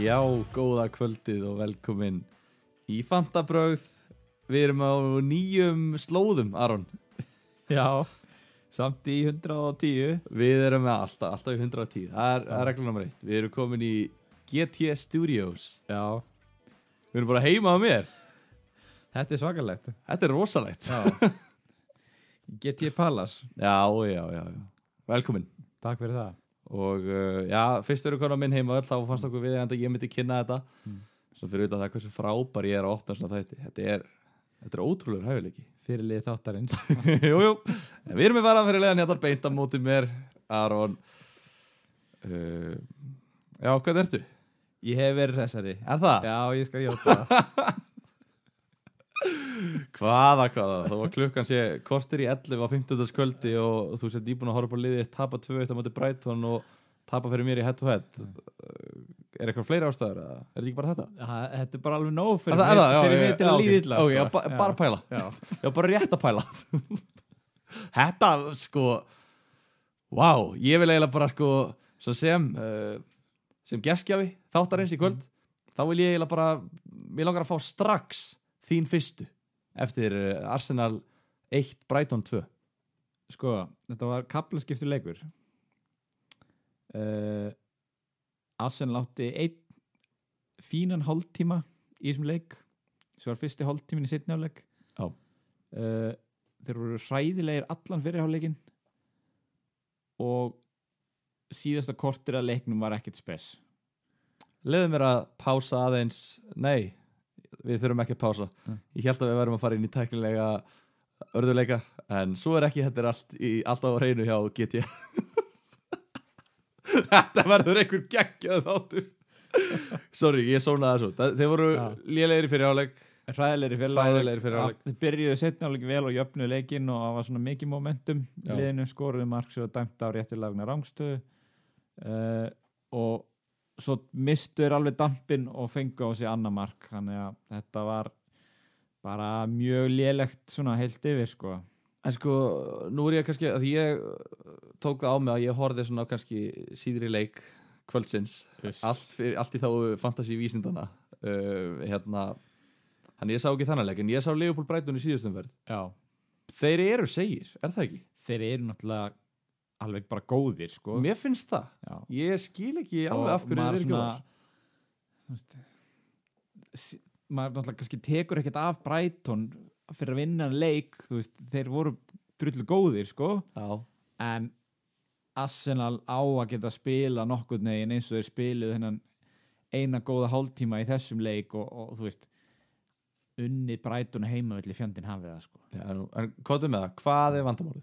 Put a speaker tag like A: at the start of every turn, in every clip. A: Já, góða kvöldið og velkomin í Fantabröð Við erum á nýjum slóðum, Aron
B: Já, samt í 110
A: Við erum með alltaf, alltaf í 110 Það er, það er reglum nummer eitt Við erum komin í GT Studios
B: Já,
A: Við erum bara heima á mér
B: þetta er svakalegt
A: Þetta er rosalegt Já,
B: Já Get ég Pallas
A: já, já, já. Velkomin
B: Takk fyrir það
A: Og uh, já, fyrst eru konar minn heima öll Þá fannst okkur við að ég myndi kynna þetta Svo fyrir auðvitað það hversu frábær ég er að opna svona þætti Þetta er, þetta er ótrúlegur hæfileiki
B: Fyrirlið þáttarins
A: jú, jú. En Við erum með varan fyrir leðan hérna beint á móti mér Aron uh, Já, hvað ertu?
B: Ég hef verið þessari
A: Er það?
B: Já, ég skal hjóta það
A: Hvaða, hvaða? Þá var klukkan sé kortir í 11 á 15. kvöldi og þú sér dýbun að horfa upp á liðið tapa 2-1 á móti Brighton og tapa fyrir mér í head to head Er eitthvað fleiri ástæður? eða? Er þetta ekki bara þetta?
B: Þetta er bara alveg nóg fyrir
A: Er það- er
B: mig-
A: það? Já, já,
B: Fyrir mig til
A: já,
B: að
A: ok.
B: líða illa
A: Ok,
B: sko.
A: já, ba- bara pæla
B: Já,
A: Já, bara rétt að pæla Þetta, sko Vá, ég vil eiginlega bara, sko Svo sem uh, sem geskjafi, þáttarins í kvöld þá vil ég eiginlega bara mér langar að fá strax þín fyrstu eftir eh, Arsenal 1, Brighton 2
B: Sko, þetta var kaplaskiptur leikur uh, Assen látti einn fínan hálftíma í þessum leik svo var fyrsti hálftímin í seinni hálfleik
A: Já.
B: Eh, þeir voru hræðilegir allan fyrir hálfleikin og síðasta kortir að leiknum var ekkert spes
A: Leðu mér að pása aðeins Nei, við þurfum ekki að pása
B: Mm.
A: Ég held að við verðum að fara inn í tæknilega örðuleika en svo er ekki, þetta er allt, í, allt á reynu hjá GT Þetta verður einhver geggjað þáttur Sorry, ég sónaði þessu Þa- Þeir voru ja.
B: Já.
A: lélegir fyrir áleik
B: hræðilegri fyrir
A: Hræðilegir fyrir hálfleik.
B: þeir byrjuðu setna hálfleik vel og jöfnu leikin og það var svona mikið momentum
A: Já.
B: liðinu skoruðu mark svo dæmt á réttilagna rángstöðu uh, og svo mistuður alveg dampin og fengu á sig annar mark þannig að þetta var bara mjög lélegt svona heilt yfir sko
A: En sko, nú er ég kannski að því ég uh, tók það á mig að ég horfði svona á kannski síðri leik kvöldsins allt, fyrir, allt í þá fantasi vísindana uh, hérna hann ég sá ekki þannig leik en ég sá Leopold Breitun í síðustum verð
B: Já.
A: þeir eru segir, er það ekki?
B: þeir eru náttúrulega alveg bara góðir sko
A: mér finnst það,
B: Já.
A: ég skil ekki alveg
B: Og
A: af hverju þeir eru
B: maður
A: ekki
B: svona-
A: góðar.
B: þú veist, sí- maður náttúrulega kannski tekur ekkert af Brighton fyrir að vinna hann leik þú veist, þeir voru drullu góðir sko
A: Já.
B: en Arsenal á að geta spila nokkurn veginn eins og þeir spiluð hennan eina góða hálftíma í þessum leik og, og þú veist unni Brighton heimavill í fjandinn hafið það sko
A: Já, nú- en kóttum með það, hvað er vandamálið?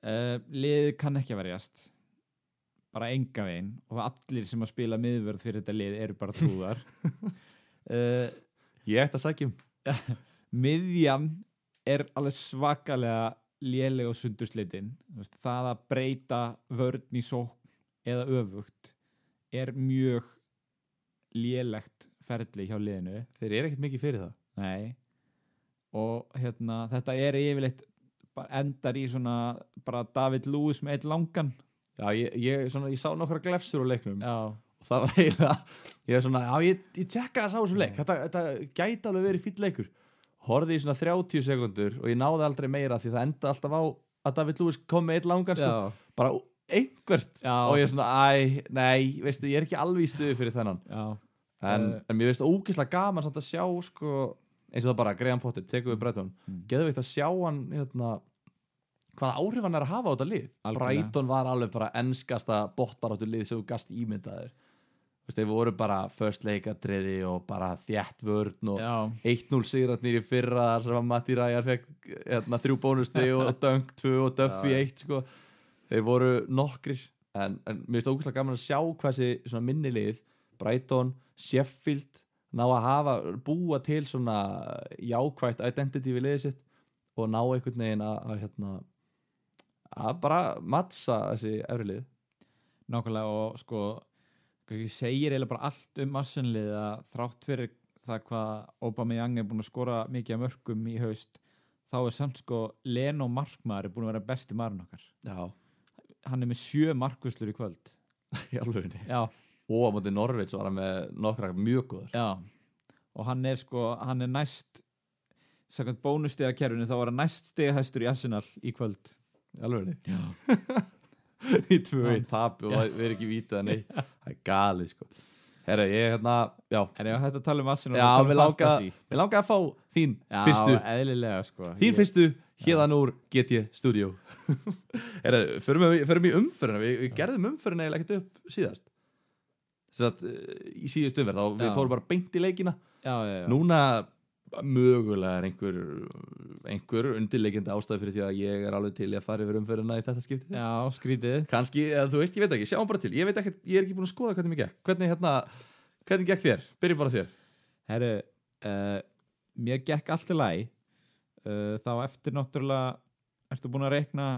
B: uh, liðið kann ekki að verjast bara enga veginn og allir sem að spila miðvörð fyrir þetta lið eru bara trúðar uh,
A: ég ætti að segja um
B: miðjan er alveg svakalega léleg og sundurslitin það að breyta vörn í sókn eða öfugt er mjög lélegt ferli hjá liðinu
A: þeir eru ekkert mikið fyrir það
B: Nei og hérna þetta er yfirleitt bara endar í svona bara David Lewis með eitt langan
A: Já, ég, ég, svona, ég sá nokkra glefsur á leiknum
B: Já,
A: og það var eiginlega ég er svona, já, ég, ég tjekka þess á þessum leik þetta, þetta gæti alveg verið fýll leikur horfði í svona 30 sekundur og ég náði aldrei meira því það enda alltaf á að David Lewis kom með eitt langan sko,
B: já,
A: bara einhvert
B: Já.
A: og ég er svona, æ, nei, veistu, ég er ekki alveg í stuði fyrir þennan
B: já,
A: en,
B: Eh.
A: en mér veist ógislega gaman samt að sjá sko, eins og það bara Graham Potter tekur við Breiton, mm.
B: Mm.
A: geðveikt að sjá hann hérna, hvaða áhrif hann er að hafa á þetta lið
B: Algjörlega.
A: Breiton var alveg bara enskasta bóttbaráttu lið sem þú gast ímyndaðir Þú veist, þeir voru bara first leikatriði og bara þjætt vörn og
B: já,
A: 1-0 sigratnir í fyrra þar sem að Matti Ræjar fekk hérna, þrjú bónusti og Dunk 2 og Duffy 1 sko. þeir voru nokkrir en, en mér finnst ógustlega gaman að sjá hvað þessi svona minni lið Brighton, Sheffield ná að hafa, búa til svona jákvætt identity við liðið sitt og ná einhvern veginn að, að hérna að bara mattsa þessi efri lið
B: nákvæmlega og sko kannski segir eiginlega bara allt um Arsenalið að þrátt fyrir það hvað Aubameyang er búin að skora mikið af mörgum í haust þá er samt sko Leno markmaður er búin að vera besti maðurinn okkar
A: Já,
B: hann er með sjö markvöslur í kvöld
A: í alveginni
B: já,
A: og á móti Norvits var hann með nokkra mjög góður
B: Já, og hann er sko hann er næst sagðan bónustega kerfinu þá var hann næst stegahæstur í Arsenal í kvöld
A: alveg
B: Já,
A: í tvö eitt tapi og það er ekki vítið að neitt það er galið sko herra ég hérna já
B: en ef þetta tala um Arsenal
A: já
B: þá
A: við
B: tala um
A: langa
B: fantasy.
A: við langa að fá þín
B: Já,
A: fyrstu
B: eðlilega sko
A: þín
B: Ég-
A: fyrstu hérðan úr GT Studio herra förum við förum í umfyrirna við, við gerðum umfyrirna eða ekkert upp síðast þess að eh, í síðustu umferð þá við
B: Já.
A: fórum bara beint í leikina
B: Já, já, já
A: núna mögulega er einhver einhver undirleikindi ástæð fyrir því að ég er alveg til í að fara yfir umferðina í þetta skiptið
B: Já, skrítið
A: kannski, eða þú veist, ég veit ekki, sjáum bara til ég veit ekki, ég er ekki búin að skoða hvernig mér gekk hvernig hérna, hvernig gekk þér, byrjum bara þér
B: Herru, uh, mér gekk allt í læg uh, þá eftir náttúrulega ertu búin að reikna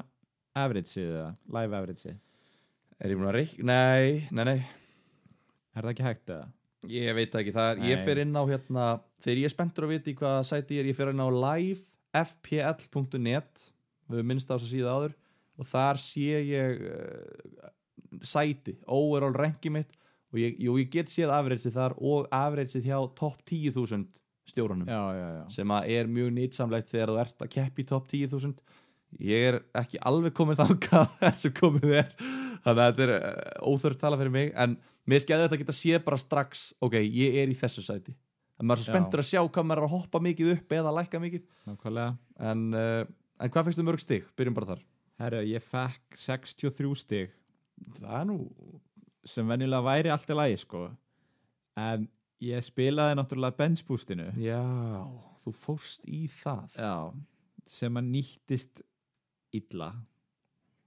B: averageið eða live averageið
A: er ég búin að reik, nei, nei, nei
B: Er það ekki hægt eða?
A: ég veit ekki, það er, ég
B: Nei.
A: fer inn á hérna, þegar ég er spenntur að vita í hvaða sæti ég er ég fer inn á livefpl.net við höfum minnst á þess að síða áður og þar sé ég uh, sæti, overall ranki mitt og ég, jú, ég get séð afreitsið þar og afreitsið hjá topp 10.000 stjórunum
B: Já, já, já
A: sem að er mjög nýtsamlegt þegar þú ert að keppi í topp 10.000 ég er ekki alveg komin þangað þar sem komið er þannig að þetta er uh, óþörf tala fyrir mig en mér skæði þetta að geta séð bara strax ok, ég er í þessu sæti en maður er svo
B: Já.
A: spenntur að sjá hvað maður er að hoppa mikið upp eða lækka mikið
B: Nákvæmlega
A: en, uh, en hvað fyrstu mörg stig? byrjum bara þar
B: Herru, ég fekk 63 stig
A: það er nú
B: sem venjulega væri allt í lagi sko en ég spilaði náttúrulega benchboostinu
A: já, þú fórst í það
B: já, sem að nýttist illa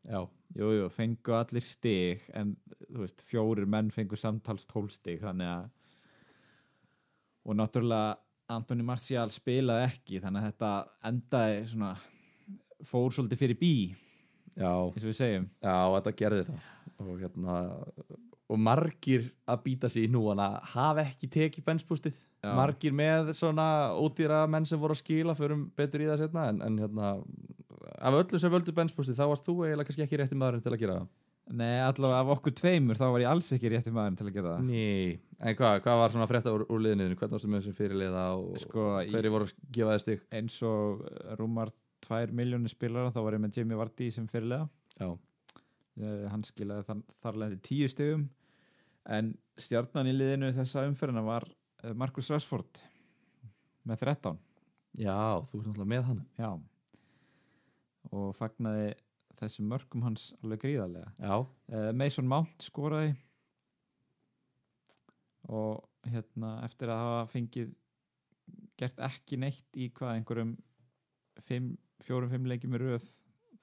A: já,
B: jú, jú, fengu allir stig en þú veist, fjórir menn fengu samtals tól stig þannig að og náttúrulega Antoni Martial spilaði ekki þannig að þetta endaði svona fór svolítið fyrir bí
A: já.
B: eins og við segjum
A: Já, þetta gerði það og hérna og margir að býta sig í núana hafa ekki tekið benspústið
B: Já.
A: margir með svona ódýra menn sem voru að skila förum betur í það setna en, en hérna af öllu sem völdu benspústið þá varst þú eiginlega kannski ekki rétti maðurinn til að gera það
B: Nei, allavega af okkur tveimur þá var ég alls ekki rétti maðurinn til að gera það
A: Ný, en hvað, hvað var svona frétta úr, úr liðniðinu hvernig varstu með þessum fyrirliða og
B: sko, í-
A: hverju voru að gefa þér stig
B: eins og uh, rúmar 2 miljónir spilara þá var ég með Jimmy Vardy sem fyrirlega
A: Já,
B: uh, hann skilaði þann, þarlendi 10 stegum en stjarnan í liðinu þessa umferðina var uh, Marcus Rashford með 13
A: Já þú ert náttúrulega með hann
B: já og fagnaði þessum mörgum hans alveg gríðarlega
A: Já,
B: uh, Mason Mount skoraði og hérna eftir að hafa fengið gert ekki neitt í hvað einhverjum fimm- fjórum, fimm leikjum í röð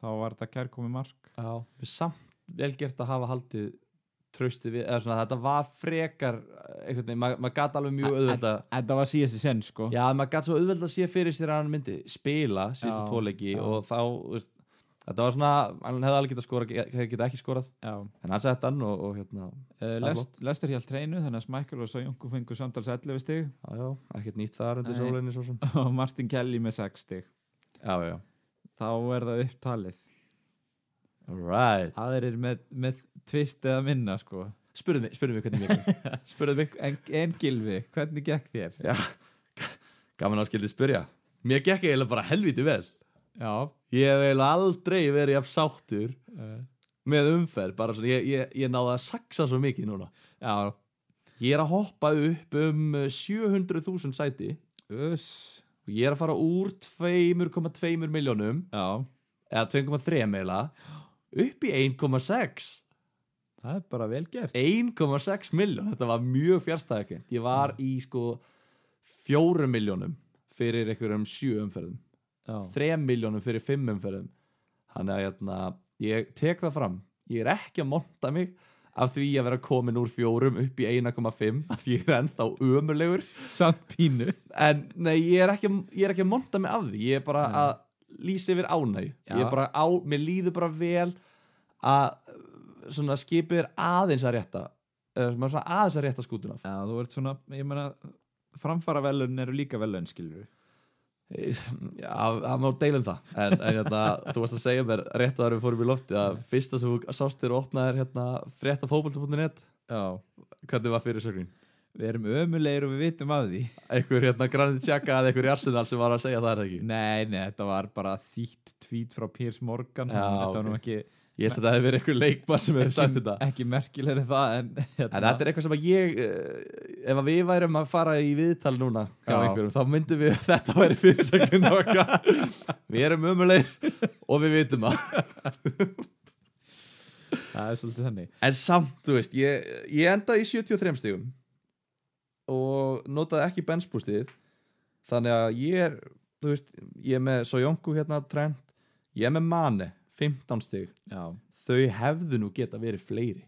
B: þá var þetta kærkomi mark
A: Já, við samt vel gert að hafa haldið trausti við, eða svona þetta var frekar eh, einhvern veginn, maður mað gat alveg mjög
B: En-
A: auðveld að,
B: en það var síðast í senn sko
A: já, maður gat svo auðveld að sé fyrir sér að hann myndi spila síðustu
B: Já,
A: tvoleiki
B: já.
A: og þá, þú veist, þetta var svona hann hefði alveg getað skorað, hefði getað ekki skorað
B: Já.
A: en hann sett hann og, og hérna
B: Uh,
A: er
B: lest, lestir hjá treinu þannig að Smækkel og Sjónku fengur samtals 11 stig
A: já, já, ekkert nýtt þar undir
B: Nei.
A: sólinni svo sem
B: og Martin Kelly með 6 stig
A: Já, já,
B: þá er það upptalið
A: alright
B: aðrir með, með tvist eða minna sko
A: Spurðu mig, spurðu mig hvernig mér Spurðu mig
B: en, en Gilvi, hvernig gekk þér?
A: Já, gaman að skildið spyrja Mér gekk eiginlega bara helviti vel
B: Já
A: Ég hef eiginlega aldrei verið jafn sáttur
B: uh,
A: með umferð bara svona, ég, ég, ég náði að saksa svo mikið núna
B: Já,
A: ég er að hoppa upp um eh, 700.000 sæti
B: Öss
A: og ég er að fara úr 2,2 miljónum
B: Já,
A: eða 2,3 meila upp í 1,6
B: það er bara vel gert
A: 1,6 miljón, þetta var mjög fjárstæðakent ég var í sko 4 miljónum fyrir einhverjum 7 umferðum
B: Já,
A: 3 miljónum fyrir 5 umferðum þannig að hérna, ég tek það fram ég er ekki að monta mig af því að vera komin úr fjórum upp í 1,5 af því ég er ennþá ömulegur
B: samt pínu
A: en nei, ég er ekki, ég er ekki að monta mig af því ég er bara
B: Nei.
A: að lýsa yfir ánæg ég
B: Já.
A: er bara á, mér líður bara vel að svona skipið er aðeins að rétta eða svona svona aðeins að rétta skútuna
B: Já, þú ert svona, ég meina framfara velun eru líka velun, skilur
A: Já, það má deila um það en, en hérna, þú varst að segja mér rétt að við fórum í lofti að fyrsta sem þú sást þér og opnaðir hérna, frétta fótbolta.net
B: já,
A: hvernig var fyrirsögnin
B: við erum ömulegir og við vitum af því
A: einhver hérna Granit Xhaka eða einhver í Arsenal sem var að segja það er það ekki
B: Nei, nei, þetta var bara þýtt tweet frá Piers Morgan
A: Já,
B: þannig að þetta var nú
A: ok.
B: ekki,
A: ég held að það hefði verið einhver leikmann sem hefði sagt þetta
B: ekki, ekki merkilegri það en, hérna,
A: en þetta er eitthvað sem að ég eh, ef að við værum að fara í viðtal núna hjá
B: Já.
A: einhverjum, þá myndum við að þetta væri fyrirsögnin okkar við erum umulegir og við vitum að
B: það er svolítið þannig
A: En samt, þú veist, ég, ég endaði í 73 stigum og notaði ekki benchboostið þannig að ég er, þú veist, ég er með Sojonku hérna, Trent, ég er með Mane 15 stig,
B: Já,
A: þau hefðu nú geta verið fleiri.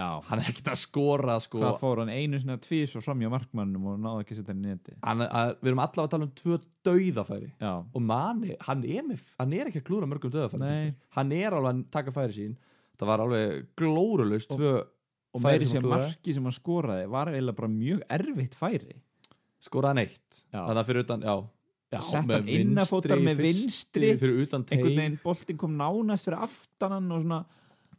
B: já
A: Hann er ekkert að skora, sko
B: Hvað fór hann einu sinna tvís og framjá markmannum og náði ekki að setja hann í neti
A: hann, að, við erum allavega að tala um tvö dauðafæri
B: Já,
A: og Mane, hann er, með, hann er ekki að klúra mörgum dauðafæri.
B: Nei.
A: finnst mér. Hann er alveg að taka færi sín það var alveg glórulaust
B: Og-
A: tvö
B: og
A: færi
B: meiri
A: sem
B: sér
A: hann klúðraði.
B: marki sem hann skoraði var eiginlega bara mjög erfitt færi
A: skoraðan eitt
B: Já.
A: þannig að fyrir utan, já, já
B: Sett
A: með
B: hann innanfótar
A: vinstri,
B: með
A: fyrsti,
B: vinstri,
A: fyrir utan
B: einhvern
A: tegin
B: veginn boltinn kom nánast fyrir aftan hann og svona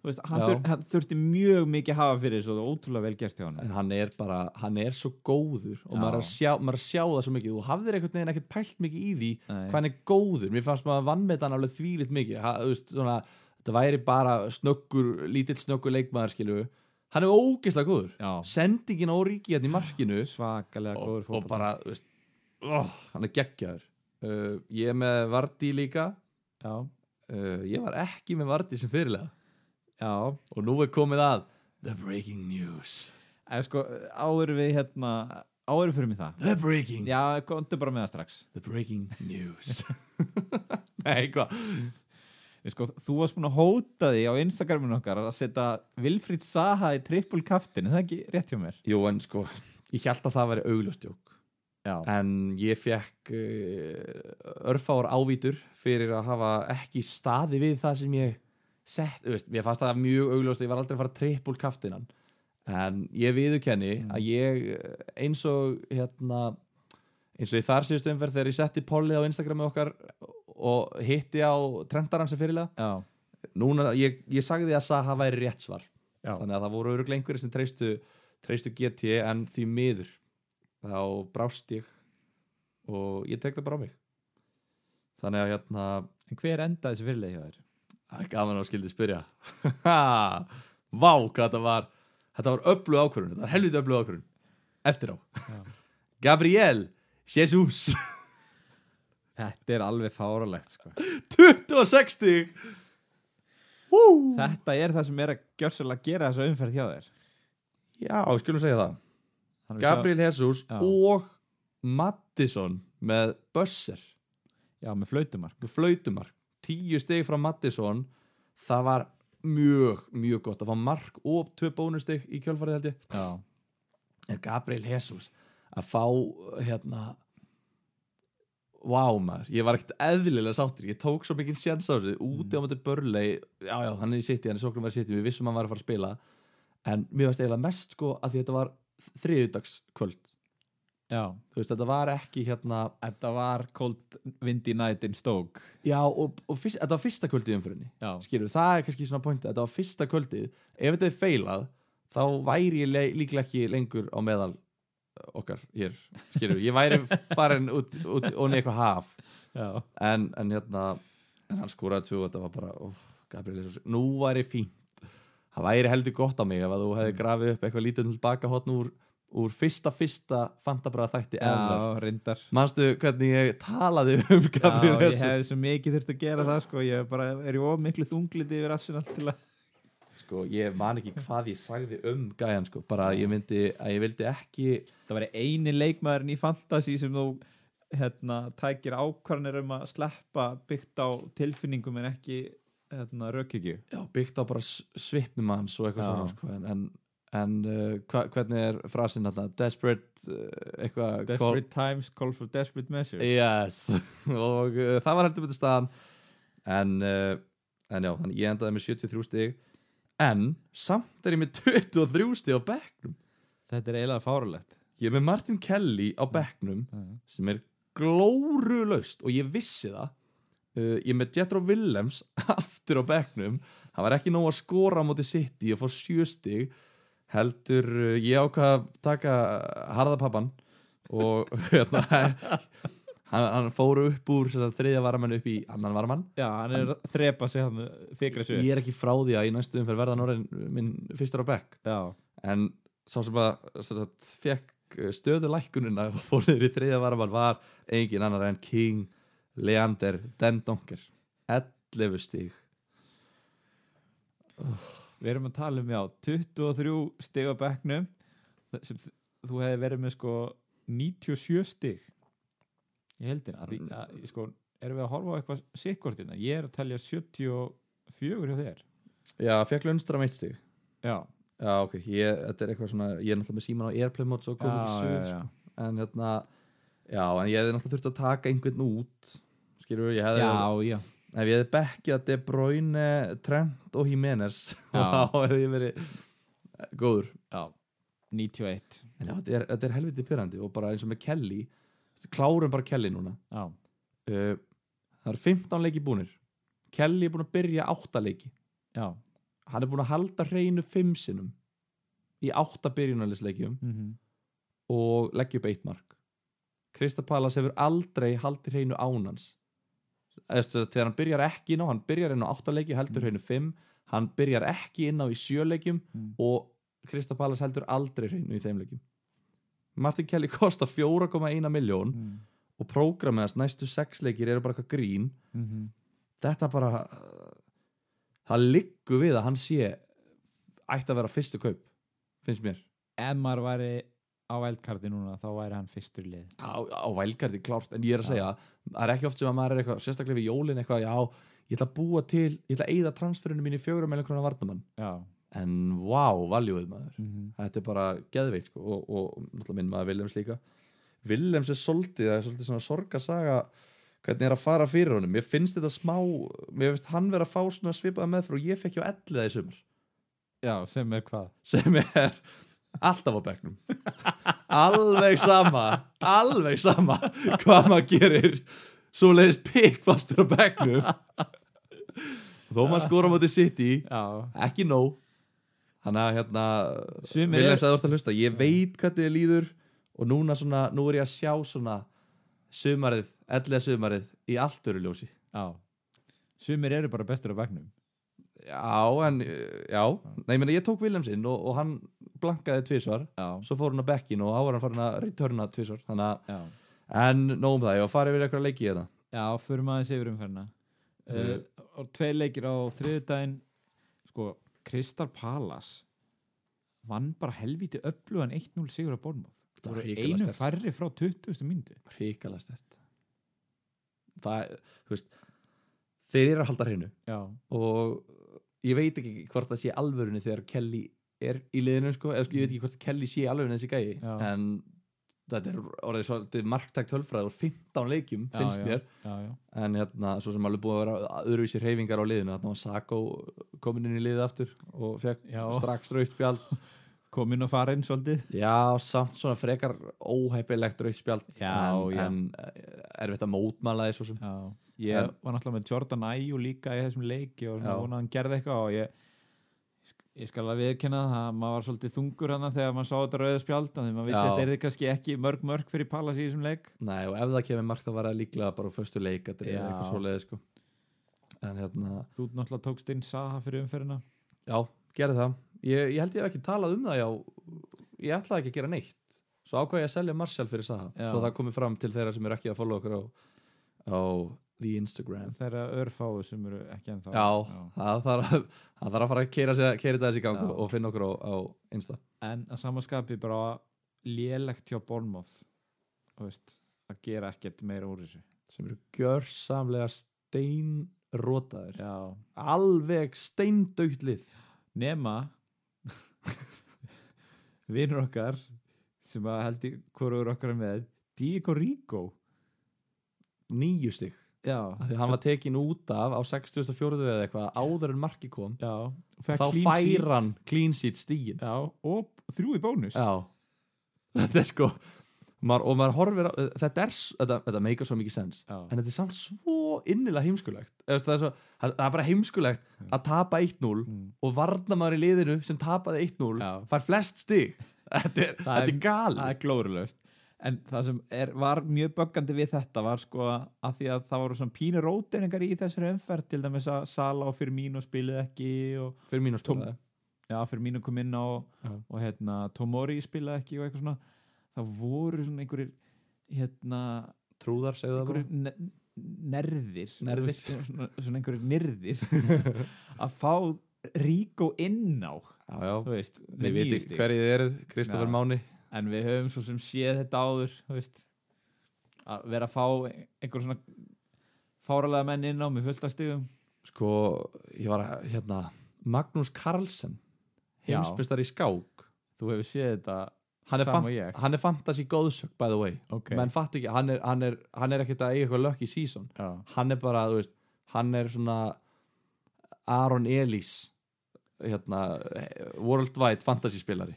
B: þú veist, hann,
A: Já.
B: þur, hann þurfti mjög mikið að hafa fyrir þessu og það var ótrúlega vel gert hjá hann
A: en hann er bara, hann er svo góður og
B: Já.
A: maður er, að sjá, maður er að sjá það svo mikið þú hafðir einhvern veginn ekkert pælt mikið í því
B: Nei.
A: hvað hann er góður, mér fannst maður vannmetan alveg þvílitt mikið, ha, þú veist, svona þetta væri bara snöggur, lítill snöggur leikmaður skilu, hann er ógeðslega góður
B: Já,
A: sendingin óríki hérna í markinu
B: svakalega góður
A: og, og
B: fótbolta
A: bara, þú veist oh, hann er geggjaður uh, ég er með Vardí líka
B: Já,
A: uh, ég var ekki með Vardí sem fyrirlega
B: já
A: Og nú er komið að The Breaking News
B: En sko, áður við hérna áður fyrir mig það
A: The Breaking
B: Já, komdu bara með það strax
A: The Breaking News Nei, hvað?
B: Við sko, Þú varst búin að hóta því á Instagraminu okkar að setja Vilfríð Saha í trippul kaftin er það ekki rétt hjá mér?
A: Jú, en sko, ég held að það væri auglustjók
B: Já,
A: En ég fekk uh, örfáar ávítur fyrir að hafa ekki staði við það sem ég sett, þú veist, mér fannst það mjög augljóst ég var aldrei að fara trippul kaftinan en ég viðurkenni
B: Mm.
A: að ég uh, eins og hérna eins og í þar síðustu umferð þegar ég setti pollið á Instagrami okkar og hitti á trendarann sem fyrirlega
B: já,
A: núna, ég, ég sagði að Saha væri rétt svar
B: já.
A: þannig að það voru öruglega einhverjir sem treystu, treystu GT en því miður þá brást ég og ég tek það bara á mig þannig að hérna
B: En hver endaði þessi fyrirlega hjá þér?
A: það er gaman að skildi spyrja vá hvað þetta var þetta var öflug ákvörun, þetta var helviti öflug ákvörun eftir á
B: Já.
A: Gabriel Jesus
B: Þetta er alveg fáralegt sko
A: 26 stig. Hú.
B: Þetta er það sem er að gjörsalega gera þessa umferð hjá þér
A: já, skulum segja það
B: Þannig að við
A: Gabriel Jesus
B: Já.
A: og Mattisson með Bösser
B: sjá- Já, með flautumark
A: flautumark, tíu steg frá Mattisson það var mjög, mjög gott að fá mark og tvö bónusteg í kjölfarið held ég
B: Já,
A: en Gabriel Jesus að fá hérna Vá maður, ég var ekkert eðlilega sáttur Ég tók svo mikið sjans á þessu Úti á mæti börlei, já já, hann er í sitt Hann er sóknum verið sitt, við vissum að hann var að fara að spila En mér varst eiginlega mest sko að því þetta var þriðudagskvöld
B: já
A: Þú veist, þetta var ekki hérna
B: Þetta var Cold Windy Night in Stoke
A: Já, og, og fyrst, þetta var fyrsta kvöldið umfyrinni
B: Já,
A: skilur, það er kannski svona pointið þetta var fyrsta kvöldið, ef þetta er feilað þá væri ég le- líklega ekki lengur á meðal eh, okkar hér, skilur, ég væri farin út, út onni eitthvað haf
B: já
A: en, en hérna, en hann skoraði tvö og þetta var bara, óf, Gabriel Jesus nú væri fínt, það væri heldur gott á mig ef að þú
B: Mm.
A: hefði grafið upp eitthvað lítið bakahotn úr, úr fyrsta fyrsta fantabræða þætti ever.
B: Já, reyndar
A: manstu hvernig ég talaði um Gabriel
B: Já, ég
A: Jesus
B: hef svo mikið þurft að gera það sko, ég er bara er í of miklu þungliti yfir Arsenal til að
A: sko, ég man ekki hvað ég sagði um gæjan, sko, bara að ég myndi að ég vildi ekki,
B: það væri eini leikmaðurinn í fantasy sem þú hérna, tækir ákvarnir um að sleppa byggt á tilfinningum en ekki hérna, rökhyggju
A: já, byggt á bara s- svipnum hans og eitthvað
B: Já.
A: svona, sko, en, en, en uh, hva, hvernig er frasinn þarna, desperate uh, eitthvað,
B: Desperate times call for desperate measures
A: call, yes og uh, það var heldur betur staðan en, uh, en já, þannig ég endaði með 73 stig, en samt er ég með 23 stig á bekknum,
B: þetta er eiginlega fárulegt
A: ég er með Martin Kelly á bekknum sem er glórulaust og ég vissi það uh, ég er með Jethro Willems aftur á bekknum hann var ekki nóg að skora á móti City og fór sjöstig heldur uh, ég ákvað að taka harðapappan og hérna hann, hann fór upp úr sem sagt, þriðja varamann upp í annan varamann
B: Já, hann er að þrepa sig hann fikra sig upp.
A: ég er ekki frá því að í næstu umferð verða norðin minn fyrstur á bekk
B: Já,
A: en sá sem að sem sagt, fekk stöðu lækkunina og fór niður í þriðja varamann var engin annar en King Leander Dendonker 11 stíg
B: við erum að tala um já 23 stig á bekknum sem þ- þú hefði verið með sko 97 stig ég heldin að, því- að sko, erum við að horfa á eitthvað sikkortina, ég er að telja 74 hjá þér
A: já, fekk Lundstram 1 stíg
B: já,
A: já, ok, ég, þetta er eitthvað svona ég er náttúrulega með síman á airplay mode svo kom ekki
B: já,
A: sögur
B: sko. já,
A: en hérna já, en ég hefði náttúrulega þurft að taka einhvern út skilur við, ég hefði
B: já, já.
A: ef ég hefði bekkjað De Bruyne, Trent og Jimenez
B: Já.
A: þá hefði ég verið góður
B: já. 91
A: en já, þetta er, þetta er helviti pyrrandi og bara eins og með Kelly klárum bara Kelly núna
B: já,
A: uh, það eru 15 leiki búnir Kelly er búin að byrja 8 leiki
B: já
A: hann er búin að halda hreinu 5 sinnum í 8 byrjunalisleikjum
B: mm
A: og leggja upp eitt mark Kristapalas hefur aldrei haldið hreinu ánans Eftir, þegar hann byrjar ekki inn á hann byrjar inn á áttaleiki, heldur
B: Mm.
A: hreinu fimm hann byrjar ekki inn á í sjöleikjum
B: Mm.
A: og Kristapalas heldur aldrei hreinu í þeim leikjum Martin Kelly kostar 4,1 miljón
B: Mm
A: og prógramið hans næstu sex leikir eru bara eitthvað grín
B: -hmm.
A: þetta bara uh, það liggur við að hann sé ætti að vera fyrstu kaup finnst mér
B: ef maður væri á eldkarti núna þá væri hann fyrstur í lið
A: á, á vælgarði klárt en ég er að segja, það er ekki oft sem að maður er eitthvað sérstaklega við jólin eitthvað, já, ég ætla að búa til ég ætla að eyða transferinu mín í fjögur meðlega krona varnamann,
B: já,
A: en vá, wow, valjúið maður,
B: mm -hmm.
A: þetta er bara geðveikt sko, og, og náttúrulega minn maður Viljáms líka Viljáms er soldið, það er svolítið svona sorgasaga hvernig er að fara fyrir honum mér finnst þetta smá, mér finnst hann vera að fá svona svipaða meðfyrir og ég fekk hjá elliða í sumar
B: já, sem er hvað
A: sem er alltaf á bekknum alveg sama alveg sama hvað maður gerir svo leiðist pikkfastur á bekknum þó maður skora á móti sitt í
B: já,
A: ekki nóg þannig að hérna
B: Sumir
A: Vilhelm
B: eru-
A: sagði orðið að hlusta ég veit hvernig þið líður og núna svona, nú er ég að sjá svona sumarið, ellega sumarið í allt öru ljósi
B: já sumir eru bara bestur á bekknum
A: já, en, uh, já, nei, ég meina ég tók Vilhelm sinn og, og hann blankaði tvisvar
B: já,
A: svo fór hann á bekkin og þá var hann farin að returna tvisar, þannig
B: já
A: að en nóg um það, ég var að fara yfir eitthvað leiki hérna
B: Já, förum aðeins yfir umferðina uh, og tvei leikir á þriðudaginn sko, Kristal Palas vann bara helvíti öflugan 1-0 sigur á Bornmáð
A: Það var hrikalega
B: einu
A: sterkt.
B: færri frá 20. myndu
A: hrikalega stert það, þú veist þeir eru að halda hreinu
B: Já,
A: og ég veit ekki hvort það sé alvörunni þegar Kelly er í liðinu sko, eða sko, ég veit ekki hvort Kelly sé alvörunni þessi gæi,
B: Já.
A: en þetta er orðið svolítið marktækt hölfræð úr 15 leikjum,
B: já,
A: finnst
B: já,
A: mér
B: Já, já,
A: en hérna, svo sem alveg búið að vera öðruvísi hreyfingar á liðinu, þarna var Sako komin inn í liðið aftur og fekk
B: Já.
A: strax raukt spjald
B: komin og farin svolítið
A: Já, samt svona frekar óheppilegt rauðspjald
B: Já,
A: en,
B: já.
A: en eh, erfitt að mótmæla því svo sem
B: Já, ég
A: En-
B: var náttúrulega með Jordan Ayew líka í þessum leiki og svona
A: Já.
B: vonað að hann gerði eitthvað og ég ég skal að viðkynna það, maður var svolítið þungur hann þegar maður sá þetta rauða spjald af því maður vissi
A: Já.
B: að þetta er kannski ekki mörg mörg fyrir Palas í þessum leik
A: Nei, og ef það kemur margt þá var það líklega bara á föstu leikadri
B: Já.
A: eða eitthvað svoleiði sko En hérna,
B: þú náttúrulega tókst inn Saha fyrir umferðina
A: já, gerði það Ég, ég held ég hef ekki talað um það, já Ég ætlaði ekki að gera neitt Svo ákvað ég að selja Marshall fyrir Saha
B: Já.
A: Svo það komið fram til þeirra sem eru ekki að follow okkur á, á The Instagram
B: þeirra örfáu sem eru ekki ennþá
A: Já, það þarf að, það þarf að fara að keira, sér, keira þetta þessi í gang
B: Já.
A: og- og finna okkur á, á Insta
B: en að samaskapi bara lélegt hjá Bornmoth veist, að gera ekkert meira úr þessu
A: sem eru gjörsamlega steinrótaður
B: já.
A: alveg steindautlið
B: nema vinnur okkar sem að held ég hvorur okkar er með Diego Rico
A: nýju stygg
B: já,
A: því hann var tekin út af á 64 eða eitthvað áður en marki kom
B: já og fær
A: þá
B: clean sheet.
A: fær hann clean sheet stígin
B: já, og þrjú í bónus
A: já þetta er sko maður, og maður horfir á, þetta er, s- þetta, þetta meikar svo mikið sens
B: Já.
A: en þetta er samt svo innilega heimskulegt Eða, þú veist, það er, svo, það það er bara heimskulegt að tapa 1-0
B: Mm.
A: og varnamaður í liðinu sem tapaði 1-0
B: Já.
A: fær flest stig þetta er,
B: Það er-
A: þetta er galið
B: það er glórulaust en það sem er, var mjög böggandi við þetta var sko að því að það voru svona pínu róteiningar í þessari umferð til dæmis að Sala og Firmino spiluð ekki og
A: fyrir mínu
B: Tóm-
A: stóla
B: já, Firmino kom inn á
A: Já.
B: og hérna, Tomori spilaði ekki og eitthvað svona það voru svona einhverjir hérna,
A: trúðar segðu það bara
B: einhverjir ne nerðir
A: Nerðir.
B: svona, svona einhverjir nyrðir að fá Ríkó inn á
A: já, já,
B: þú veist,
A: við
B: með níu
A: viti
B: stig.
A: hverjið eruð Kristoffer
B: Já.
A: Máni
B: en við höfum svo sem séð þetta áður þú veist, að vera að fá einhver svona fáralega menn inn á með fullt af stigum
A: sko, ég var að, hérna Magnús Carlsen
B: Já.
A: heimsbystar í skák
B: þú hefur séð þetta
A: hann er,
B: Sama
A: fan,
B: og ég.
A: hann er fantasy góðsök by the way
B: okay.
A: menn fatt ekki, hann er, hann er, hann er ekkert að eiga eitthvað lökk í season
B: já,
A: hann er bara, þú veist, hann er svona Aron Elís hérna eh, worldwide fantasy spilari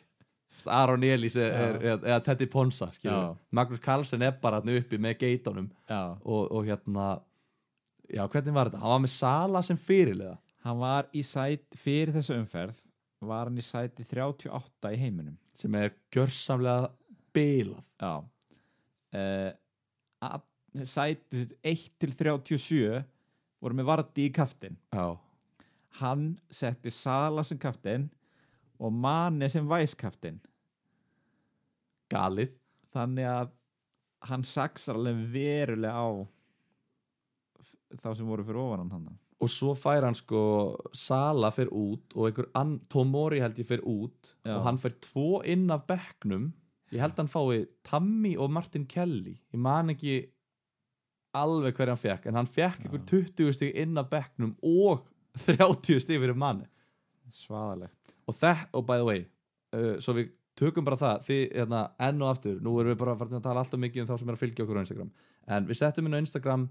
A: Þú veist, Aron Elís er,
B: Já.
A: er, er, eða Teddy Ponsa skilur
B: Já.
A: við. Magnús Carlsen er bara þarna uppi með geitunum
B: já.
A: og, og hérna já, hvernig var þetta? Hann var með Sala sem fyrirlega
B: hann var í sæti fyrir þessu umferð var hann í sæti 38 í heiminum
A: sem er gjörsamlega bilað
B: já uh, að, sæti 1 til 37 voru með Vardí í kaftin
A: já,
B: hann setti Sala sem kaftin og Mane sem væskaftin
A: galið
B: þannig að hann saksar alveg verulega á f- þá sem voru fyrir ofan hann hann
A: og svo fær hann sko Sala fyrir út og einhver ann, Tomori held ég fyrir út
B: Já.
A: og hann fyrir tvo inn af bekknum ég held hann fái Tammy og Martin Kelly ég man ekki alveg hver hann fekk en hann fekk
B: Já.
A: einhver 20 stig inn af bekknum og 30 stig fyrir manni
B: svaðalegt
A: og þetta, og by the way uh, svo við tökum bara það því, hérna, enn og aftur, nú erum við bara farin að tala alltaf mikið um þá sem er að fylgja okkur á Instagram en við settum inn á Instagram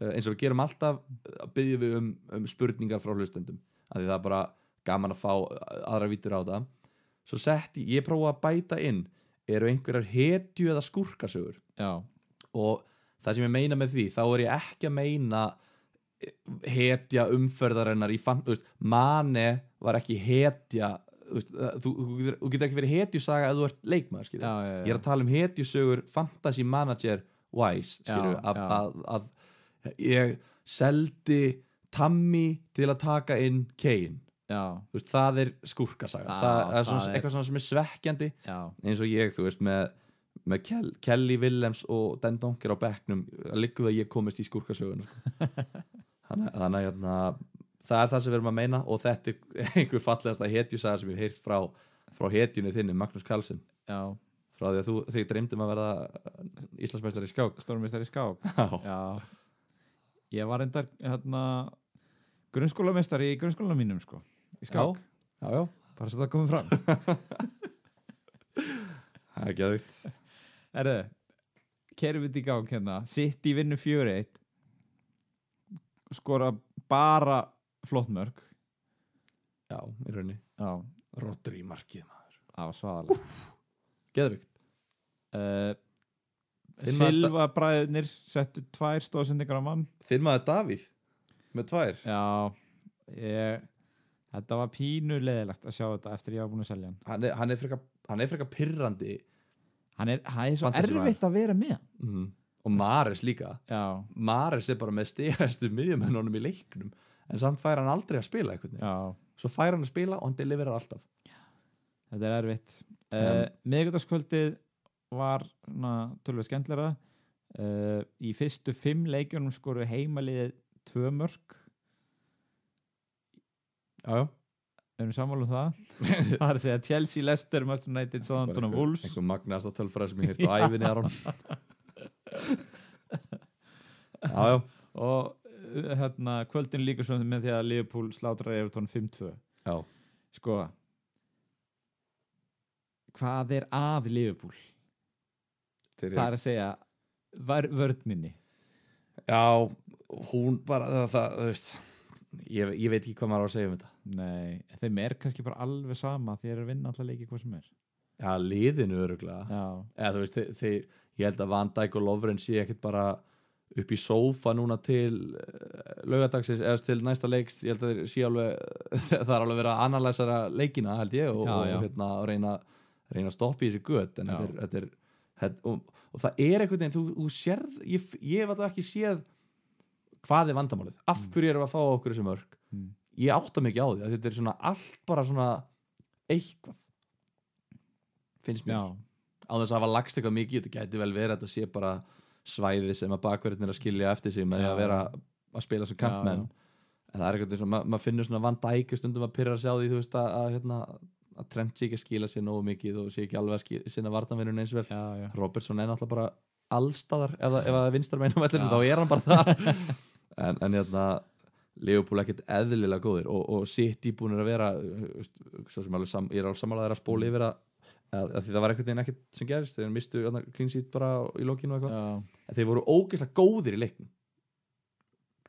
A: uh, eins og við gerum alltaf, uh, byggjum við um, um spurningar frá hlustendum af því það er bara gaman að fá uh, aðra vítur á það svo setti, ég prófa að bæta inn eru einhverjar hetju eða skúrkasögur
B: já,
A: og það sem ég meina með því þá er ég ekki að meina eh, hetja umferðarinnar í fann, þú veist, mane var ekki hetja þú, veist, það- þú, þú, getur, þú getur ekki verið hetjusaga ef þú ert leikmaður skilur
B: já, já, já.
A: ég er að tala um hetjusögur fantasy manager wise skilur,
B: Já,
A: að,
B: já.
A: að, að, ég seldi Tammy til að taka inn Kane
B: já,
A: þú veist, það er skúrkasaga
B: Já,
A: það, það er svona,
B: það er-
A: eitthvað svona sem er svekkjandi
B: já,
A: eins og ég, þú veist, með, með Kel, Kelly Willems og Den Donker á bekknum líku að ég komist í skúrkasögun þannig að- þannig að hérna, það er það sem við erum að meina og þetta er einhver fallegasta hetjusaga sem ég hef heyrt frá, frá hetjunni þinni, Magnús Karlsson
B: já.
A: frá því að þú, þig dreymdum að verða Íslandsmeistar í skák
B: stórmestari skák
A: Já,
B: já, ég var endar hérna grunnskólamestari í grunnskólanum mínum sko í skák,
A: já, já,
B: bara svo það komið fram
A: það er geðvikt
B: Erðu, kerum við þetta í gang hérna Sitt í vinnu 4-1 Skora bara flott mörg
A: Já, í rauninni
B: Já,
A: Rodri í markið maður
B: það var svaðalega
A: Geðvikt
B: uh,
A: Finn maður
B: Silva bræðinir settu tvær stóðsendingar á mann
A: Þinn maður Davíð með tvær
B: Já, ég Þetta var pínu leðilegt að sjá þetta eftir ég var búin að selja hann
A: Hann er, hann er freka, hann er freka pirrandi
B: Hann er, hann er svo
A: Fantasy-maður.
B: erfitt að vera með hann.
A: mm. og Maris líka
B: Já,
A: Maris er bara með stigæstu miðjumennunum í leiknum en samt fær hann aldrei að spila einhvern veginn
B: já,
A: svo fær hann að spila og hann deliverar alltaf
B: þetta er erfitt uh,
A: Um.
B: Miðgutaskvöldið var tölvöð skemmtlera uh, Í fyrstu fimm leikjunum skoru heimaliðið tvö mörg
A: já, já.
B: Erum sammála um það? það er að segja Chelsea, Leicester, Manchester United, Southampton og Wolves
A: einhver magnasta tölfræð sem ég hýrt á æfinni Aron já, já,
B: og uh, hérna, kvöldin líka svo með því að Liverpool slátrar Everton 5-2
A: já.
B: sko hvað er að Liverpool?
A: Þeir
B: Það
A: eru-
B: er að segja var vörninni
A: já, hún bara það, það, það veist ég, ég veit ekki hvað maður á að segja um þetta
B: Nei, þeim er kannski bara alveg sama því þeir eru að vinna alltaf leiki hvað sem er
A: ja, liðinu öruglega
B: já,
A: eða þú veist, þe- þeir, ég held að Van Dijk og Lovren sé ekkit bara upp í sófa núna til eh, laugardagsins eða til næsta leiks ég held að þeir sé alveg það er alveg verið að analysera leikina held ég og,
B: Já, já.
A: og hérna, að reyna, reyna að stoppa í þessu gött en
B: Já.
A: þetta er, þetta er þetta, og, og það er einhvern veginn, þú, þú sérð ég, ég hef alltaf ekki séð hvað er vandamálið, af hverju erum við að fá á okkur þessi mörg
B: Mm.
A: ég átta mikið á því að þetta er svona allt bara svona eitthvað finnst mér
B: já,
A: á þess að hafa lagst eitthvað mikið í þetta gæti vel verið að þetta sé bara svæði sem að bakverðin er að skilja eftir sig með því að
B: Já.
A: vera að spila sem kantmenn
B: Já,
A: en það er eitthvað eins og ma- maður finnur svona Van Dijk stundum að pyrra sig á því þú veist að, að, hérna, að Trent sé ekki að skila sér nógu mikið og sé ekki alveg að skila, sinna vartanvinnun eins vel
B: já, já,
A: Robertson er náttúrulega bara allstaðar ef, það- ef það er vinstar meina
B: Já.
A: vellinu þá er hann bara þar en, en hérna Leopold ekkert eðlilega góðir og, og City búinir að vera uh, veist, svo sem alveg sam, ég er alveg sammálaðir að
B: Mm.
A: spóla yfir að, að, að því það var einhvern veginn ekkert sem gerist þeir mistu clean sheet bara í lokinu og eitthvað
B: já.
A: en þeir voru ógeðslega góðir í leiknum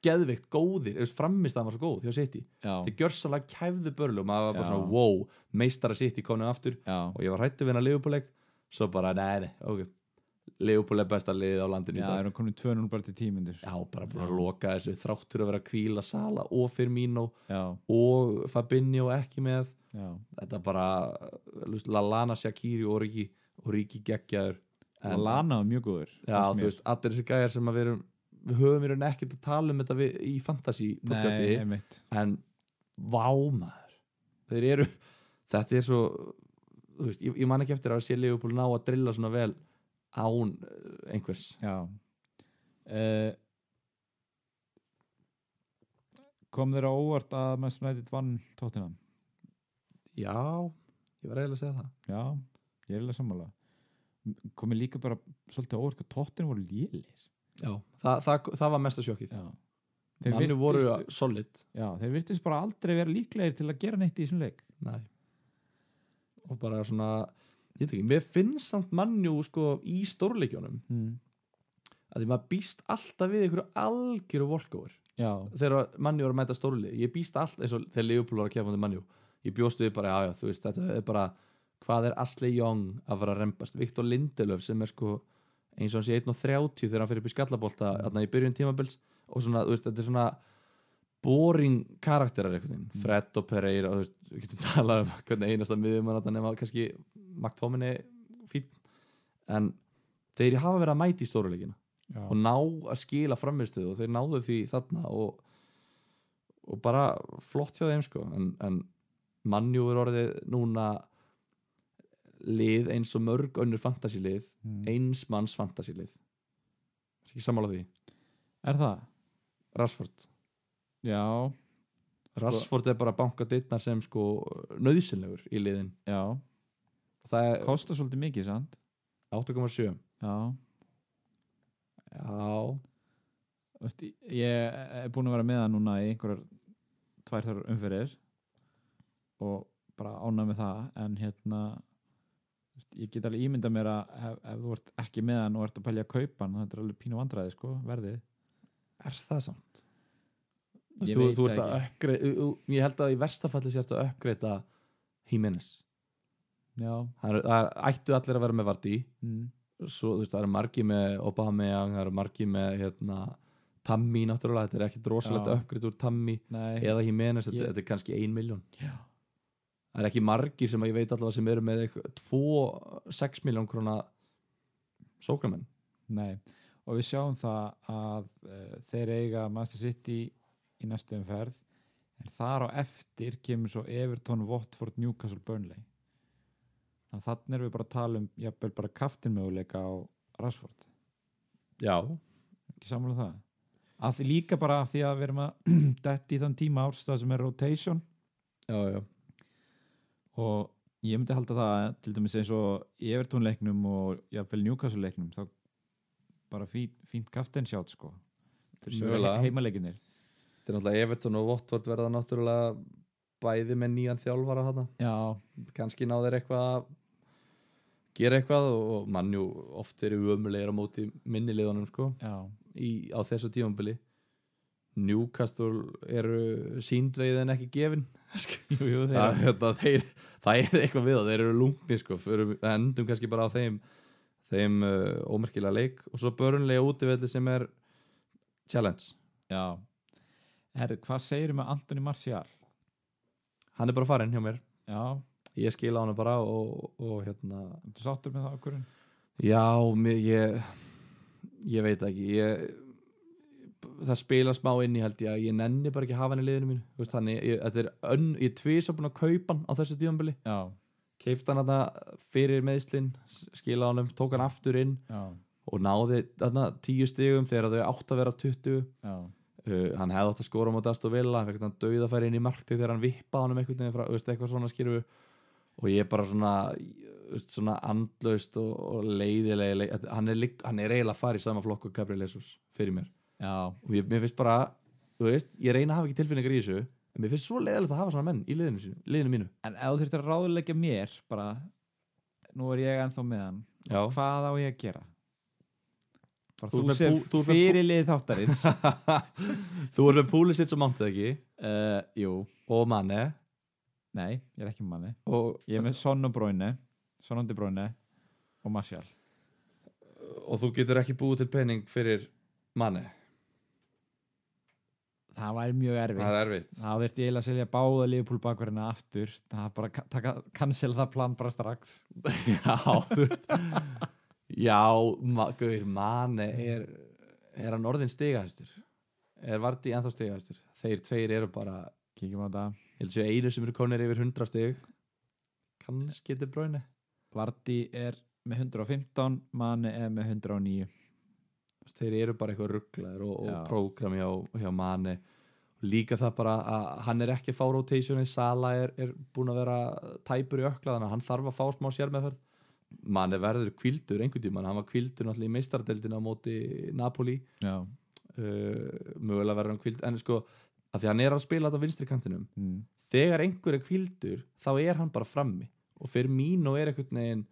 A: geðveikt góðir framist að hann var svo góð hjá City
B: já,
A: þeir gjörsalega kæfðu börlu og maður var bara
B: Já.
A: svona wow, meistara City konu aftur
B: já,
A: og ég var hættu við hennar Leopoldleik svo bara, nei, nei, ok Leopold er besta liðið á landinu í
B: já,
A: dag
B: erum komin 200 bara til tímundur
A: já, bara búin að loka þessu þráttur að vera að kvíla Sala og Firmino
B: já,
A: og Fabinho ekki með
B: já,
A: þetta bara, þú veist, Lallana Shakiri og Ríki, og Ríki geggjaður En-
B: og Lana var mjög góður
A: já,
B: fannst
A: þú
B: mér.
A: veist, allir þessi gæjar sem að við erum við höfum í raun ekkert að tala um þetta við, í fantasy
B: nei,
A: podcasti
B: einmitt
A: en vámaður þeir eru, þetta er svo þú veist, ég, ég man ekki eftir að sé Leopold ná að drilla svona vel án eh, einhvers
B: já uh, kom þér á óvart að Manchester United vann tóttina
A: já, ég var eiginlega að segja það
B: já, ég er eiginlega sammála komið líka bara svolítið á óvart að tóttina voru lélir
A: já, Þa, það, það var mesta sjokkið
B: já
A: þeir
B: virtust-
A: voru solid
B: já, þeir virtist bara aldrei vera líklegir til að gera neitt í þessum leik
A: Nei. og bara svona ég veit ekki, mér finnst samt mannjú sko í stórleikjónum
B: mm.
A: að því maður býst alltaf við einhverju algjöru volkover
B: já,
A: þegar mannjú var að mæta stórli ég býst allt eins og þegar Leopold var að kefa um mannjú ég bjóst við bara, já já, þú veist þetta er bara, hvað er Asli Young að fara að rempast, Viktor Lindelöf sem er sko eins og hann sé 1.30 þegar hann fyrir upp í skallabólta þarna í byrjun tímabils og svona, þú veist, þetta er svona boring karakterar einhvern veginn, Fred og Pereira og þú veist, við getum talað um hvernig einasta miðum hann nema kannski McTominay fín, en þeir hafa verið að mæti í stóruleikina
B: já,
A: og ná að skila framistuð og þeir náðu því þarna og, og bara flott hjá þeim sko en, en mannjú er orðið núna lið eins og mörg önnur fantasílið
B: Mm.
A: eins manns fantasílið ekki sammála því
B: er það?
A: Rashford
B: já,
A: Sko- Rashford er bara bankað dittnar sem sko nöðsynlegur í liðin
B: já,
A: og það er
B: kostar svolítið mikið sant?
A: 8,7
B: já
A: já,
B: Þú veist, ég er búin að vera með það núna í einhverjar tvær þar umferðir og bara ánað með það en hérna þú veist, ég get alveg ímyndað mér að ef, ef þú ert ekki með hann og ert að pælja að kaupa hann þetta er alveg pínu vandræði sko, verðið
A: er það samt
B: Ég
A: Þú,
B: veit
A: þú ert
B: það
A: að uppgreita ég held að í verstafalli sér að uppgreita Jimenez
B: já,
A: það eru- það er- ættu allir að vera með Vardí
B: mm,
A: svo þú veist, það eru margi með Aubameyang, það eru margi með hérna, Tammy náttúrulega, þetta er ekkit rosalegt
B: Já.
A: uppgritt úr Tammy
B: nei
A: eða Jimenez, þetta,
B: Ég-
A: þetta er kannski ein miljón
B: já,
A: það er ekki margi sem að ég veit allavega sem eru með eitthvað, tvo 6 miljón krona sókramenn
B: nei og við sjáum það að uh, þeir eiga Master City í næstu umferð en þar á eftir kemur svo Everton, Watford, Newcastle, Burnley þannig að þannig erum við bara að tala um jafnvel bara kaftin möguleika á Rashford
A: Já,
B: ekki samlega það að því líka bara af því að við erum að detti í þann tíma árstað sem er rotation
A: já, já
B: og ég myndi halda það til dæmis eins og í Everton leiknum og jafnvel Newcastle leiknum þá bara fín, fínt kaftin sjátt sko Þetta eru svo
A: Mögulega.
B: heimaleikirnir
A: Þetta er náttúrulega Everton og Votvort verða náttúrulega bæði með nýjan þjálfara hana
B: já,
A: kannski ná þeir eitthvað að gera eitthvað og, og mannjú oft verið umulegir á móti minni liðunum sko
B: já,
A: í, á þessu tímambili Newcastle eru síndveið en ekki gefin
B: jú, jú, þeir
A: það, hérna, þeir, það er eitthvað við það, þeir eru lungni sko, fyrir, það endum kannski bara á þeim þeim uh, ómerkilega leik og svo börunlega útivelli sem er challenge,
B: já herru, hvað segir með Anthony Martial
A: hann er bara farinn hjá mér
B: já,
A: ég skila hana bara og, og hérna
B: þú sáttur með það okkur
A: Já, mér, ég ég veit ekki ég, það spila smá inn í held ég að ég nenni bara ekki að hafa hann í liðinu mínu Þú veist, þannig, ég, þetta er önn, ég er tvisa búin að kaupa hann á þessu djömbili
B: já,
A: keifta hann þarna fyrir meðslinn skila honum, tók hann aftur inn
B: já,
A: og náði þarna tíu stigum þegar þau átt að vera 20 uh,
B: já,
A: Eh, hann hefði átt að skora á Dast og Villa hann fekk hann dauðafæri inn í markti þegar hann vippa honum einhvern veginn frá, þú veist, eitthvað svona skilur og ég er bara svona þú veist, svona andlaust og, og leiðilega leið, hann, er, lík- hann er eiginlega að fara í sama flokk og Gabriel Jesus fyrir mér
B: já,
A: og ég, mér finnst bara, þú veist, ég reyna að hafa ekki tilfinningar í þessu en mér finnst svo leiðilegt að hafa svona menn í liðinu, sínu, liðinu mínu
B: en ef þú þurftir að ráðleggja mér bara, nú er ég ennþá með hann
A: Já.
B: hvað á ég að gera bara
A: Þú
B: þú,
A: ert með
B: sem
A: pú- þú ert með pú-
B: fyrirlið þáttarins
A: þú erum með púlið sitt sem mántið ekki
B: uh, jú,
A: og manni
B: nei, ég er ekki með manni
A: og,
B: ég er með Son og Bróinu Son og De Bruyne og Martial
A: og þú getur ekki búið til pening fyrir manni
B: það væri mjög erfitt
A: Það er erfitt.
B: þá þurfti ég eiginlega að selja báða Liverpool bakverðina aftur það er bara að taka, cancel það plan bara strax
A: Já, þú veist Já, ma gauður, manni er, er hann orðin stigahæstur er Vardí ennþá stigahæstur þeir tveir eru bara
B: kíkjum á það
A: ég held séu einu sem eru konir yfir 100 stig kannski þetta bráinu
B: Vardi er með 115 Mane er með 109
A: þeir eru bara eitthvað rugglaður og, og
B: Já.
A: prógram hjá, hjá manni líka það bara að hann er ekki að fá rotationi Sala er, er búin að vera tæpur í ökla þannig að hann þarf að fá smá sérmeðferð manni verður kvildur einhvern tímann hann var kvildur náttúrulega í meistardeldina á móti Napoli
B: já
A: uh, mögulega verður hann kvild en sko, af því hann er að spila þetta á vinstri kantinum
B: mm.
A: þegar einhver er kvildur þá er hann bara frammi og fyrir mín og er einhvern veginn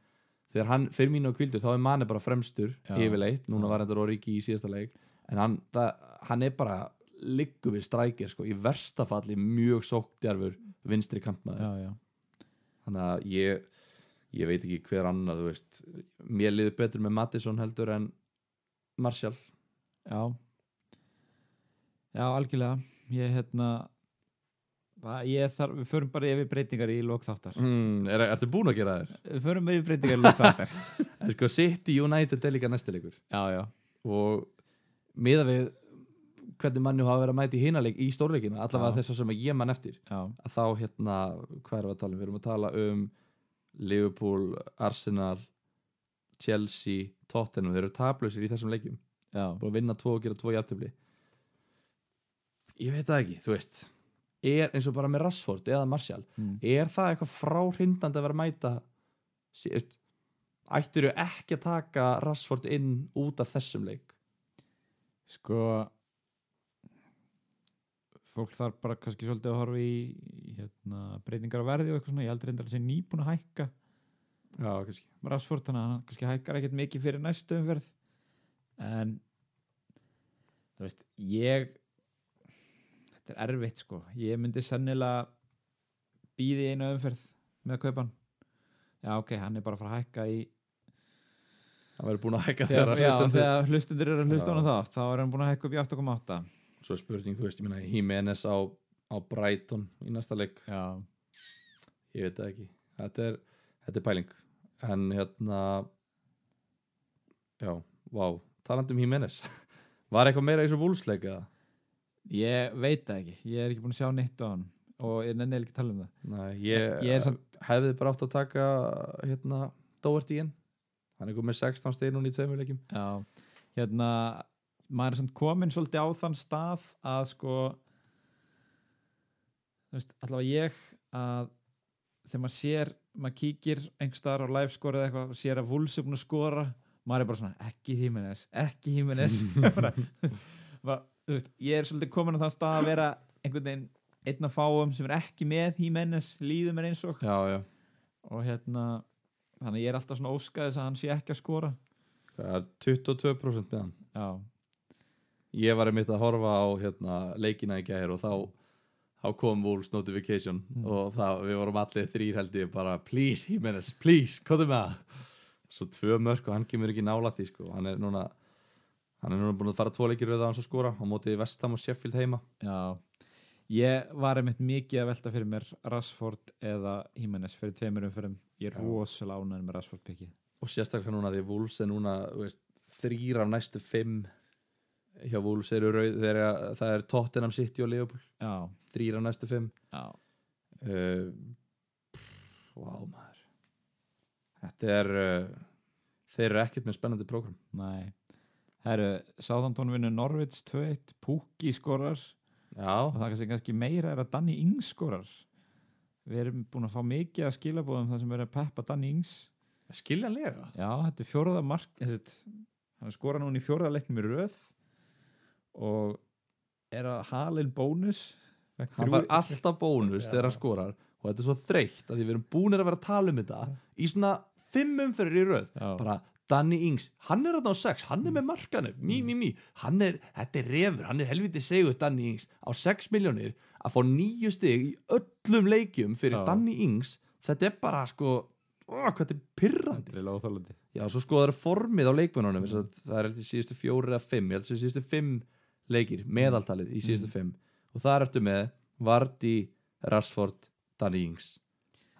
A: þegar hann fyrir mín og kvildur þá er manni bara fremstur
B: Já.
A: yfirleitt, núna
B: Já.
A: var þetta Roriki í síðasta leik en hann, það, hann er bara liggur við strækir sko, í versta falli mjög sóktjarfur vinstri kantmaður
B: já, já,
A: þannig að ég ég veit ekki hver annar, þú veist mér liður betur með Mattisson heldur en Marshall
B: já já, algjörlega ég hérna það, ég þarf, við förum bara yfir breytingar í lók þáttar
A: mm, er, Ertu búin að gera þér?
B: við förum yfir breytingar í lók þáttar
A: En sko City United er líka næstilegur
B: já, já,
A: og miða við hvernig manni hafa verið að mæta í hinaleik í stórleikina, allavega
B: Já.
A: þess sem ég mann eftir
B: já,
A: að þá hérna, hvað erum við að tala um? Við erum að tala um Liverpool, Arsenal Chelsea, Tottenham þeir eru taplausir í þessum leikjum
B: já
A: búin að vinna tvo og gera tvo jafntöfli ég veit það ekki, þú veist er eins og bara með Rashford eða Martial
B: mm.
A: er það eitthvað fráhrindandi að vera að mæta síðust ættir þau ekki að taka Rashford inn út af þessum leik
B: sko fólk þarf bara kannski svolítið að horfa í í, hérna, breytingar á verði og eitthvað svona ég heldur reyndar að sé nýbúin að hækka
A: já, kannski
B: Rashford þannig að hann kannski hækkar ekkert mikið fyrir næstu umferð en þú veist, ég þetta er erfitt sko ég myndi sennilega býði einu umferð með að kaupa hann já ok, hann er bara að fara að hækka í
A: hann verður búin að hækka
B: þegar,
A: þegar
B: já,
A: Rashford stendur.
B: þegar hlustendur eru að hlusta
A: Já.
B: hann þá þá er hann búin að hækka upp í 8,8
A: svo er spurning, þú veist, ég minna Jimenez á, á Brighton í næsta leik
B: já,
A: ég veit það ekki, þetta er, þetta er pæling en hérna já, vá talandi um Jimenez var eitthvað meira í svo vúlsleik eða?
B: Ég veit það ekki, ég er ekki búin að sjá neitt á hann og ég nenni ekki að tala um það
A: Nei, ég,
B: Ég er samt-
A: hefði bara átt að taka hérna, Doherty inn hann er komið 16 stein núna í tveimur leikjum
B: Já, hérna maður er samt komin svolítið á þann stað að sko þú veist, allavega ég að þegar maður sér maður kíkir einhvers staðar á live score eða eitthvað og sér að Wolves er búin að skora maður er bara svona, ekki Hímenes, ekki Hímenes bara, bara, þú veist, ég er svolítið komin á þann stað að vera einhvern veginn einn af fáum sem er ekki með Hímenes líður mér eins og
A: já, já,
B: og hérna þannig að ég er alltaf svona óskaðis að hann sé ekki að skora
A: það er 22% með hann
B: já
A: ég var einmitt að horfa á hérna, leikina í gæðir og þá þá kom Wolves notification og það, við vorum allir þrýr held ég bara please Jimenez, please, komðu með það svo tvö mörk og hann kemur ekki nálætt í sko, hann er núna hann er núna búin að fara tvo leikir auðvitað hans að skora á móti Vestam og Sheffield heima
B: Já, ég var einmitt mikið að velta fyrir mér Rashford eða Jimenez fyrir tveimur umfyrum ég er
A: Já.
B: rosalega ánæður með Rashford piki
A: og sérstaklega núna því Wolves er núna þú veist, þrýr af næstu fimm hjá Wolves eru rauð þegar það er Tottenham City og Liverpool
B: Já,
A: þrýr af næstu fimm
B: já,
A: uh, Vá maður Þetta er uh, þeir eru ekkert með spennandi prógram
B: næ Herru, Southampton vinnur Norwich 2-1 Pukki skorar og
A: Já,
B: það kannski, kannski meira er að Danny Ings skorar Við erum búin að fá mikið að skilabóðum það sem er að peppa Danny Ings
A: skiljanlega
B: Já, þetta er fjóraða mark þessi, hann skora núna í fjóraða leiknum í röð og er að halin bónus Fekk
A: Hann
B: þrjú-
A: fær alltaf bónus
B: Já.
A: þegar hann skorar og þetta er svo þreytt að því við erum búinir að vera að tala um þetta í svona fimm umferðir í röð
B: Já. Mm.
A: bara Danny Ings, hann er þarna á 6 hann er með markanum, mí, mí, mí hann er, þetta er refur, hann er helviti segur Danny Ings á 6 miljónir að fá nýju stig í öllum leikjum fyrir
B: Já.
A: Danny Ings, þetta er bara sko, ó, hvað þetta er pyrrandi
B: Þetta er láþólandi
A: Já, svo sko það er formið á leikmennunum mm. það er eftir síðustu fjóri eða fimm ég held að síðustu fimm leikir, meðaltalið í síðustu fimm og það er eftir með Vardy, Rashford, Danny Ings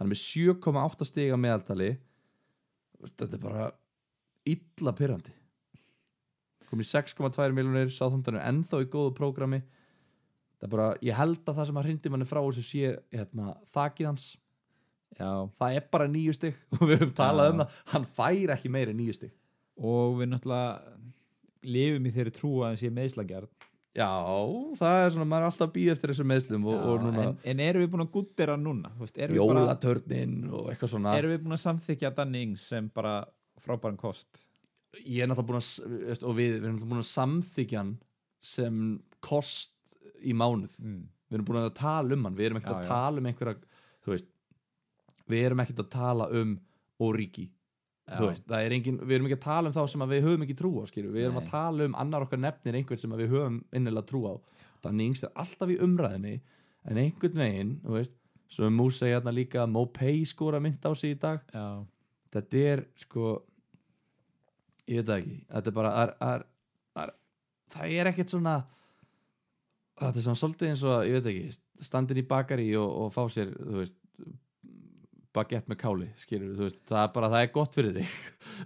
A: hann er með 7,8 stiga meðaltali þetta er bara illa pyrrandi komið 6,2 miljonir sáþandarinn er ennþá í góðu prógrami það er bara, ég held að það sem að hrindi manni frá þessu sé hérna, þakið hans
B: Já,
A: það er bara nýju stygg og við höfum talað
B: Já.
A: um það, hann fær ekki meira en nýju stygg
B: og við náttúrulega lifum í þeirri trú að hann sé meðslagjart
A: já, það er svona, maður er alltaf býð eftir þessum meðslum og, og núna
B: en, en erum við búin að guttera núna? Þú Veist, erum, við bara,
A: jólatörnin og eitthvað svona
B: erum við búin að samþykja Danny Ings sem bara frábæran kost
A: ég er náttúrulega búin að, s- veist, og við, við erum náttúrulega búin að samþykja hann sem kost í mánuð
B: mm.
A: við erum búin að tala um hann, við erum ekkert
B: Já,
A: að
B: já.
A: tala um einhverja, þú veist við erum ekkert að tala um Origi þú veist, það er engin, við erum ekki að tala um þá sem að við höfum ekki trú á skilur. við erum
B: Nei.
A: að tala um annar okkar nefnir einhvern sem að við höfum innilega trú á þannig yngst er alltaf í umræðinni en einhvern veginn, þú veist svo er mús segja hérna líka að Mopay skora mynd á sig í dag,
B: Já,
A: þetta er sko ég veit það ekki, þetta er bara er, er, er, það er ekkert svona þetta er svona svolítið eins og ég veit ekki, standin í bakari og, og fá sér, þú veist bagett með káli, skilur þú veist, það er bara, það er gott fyrir þig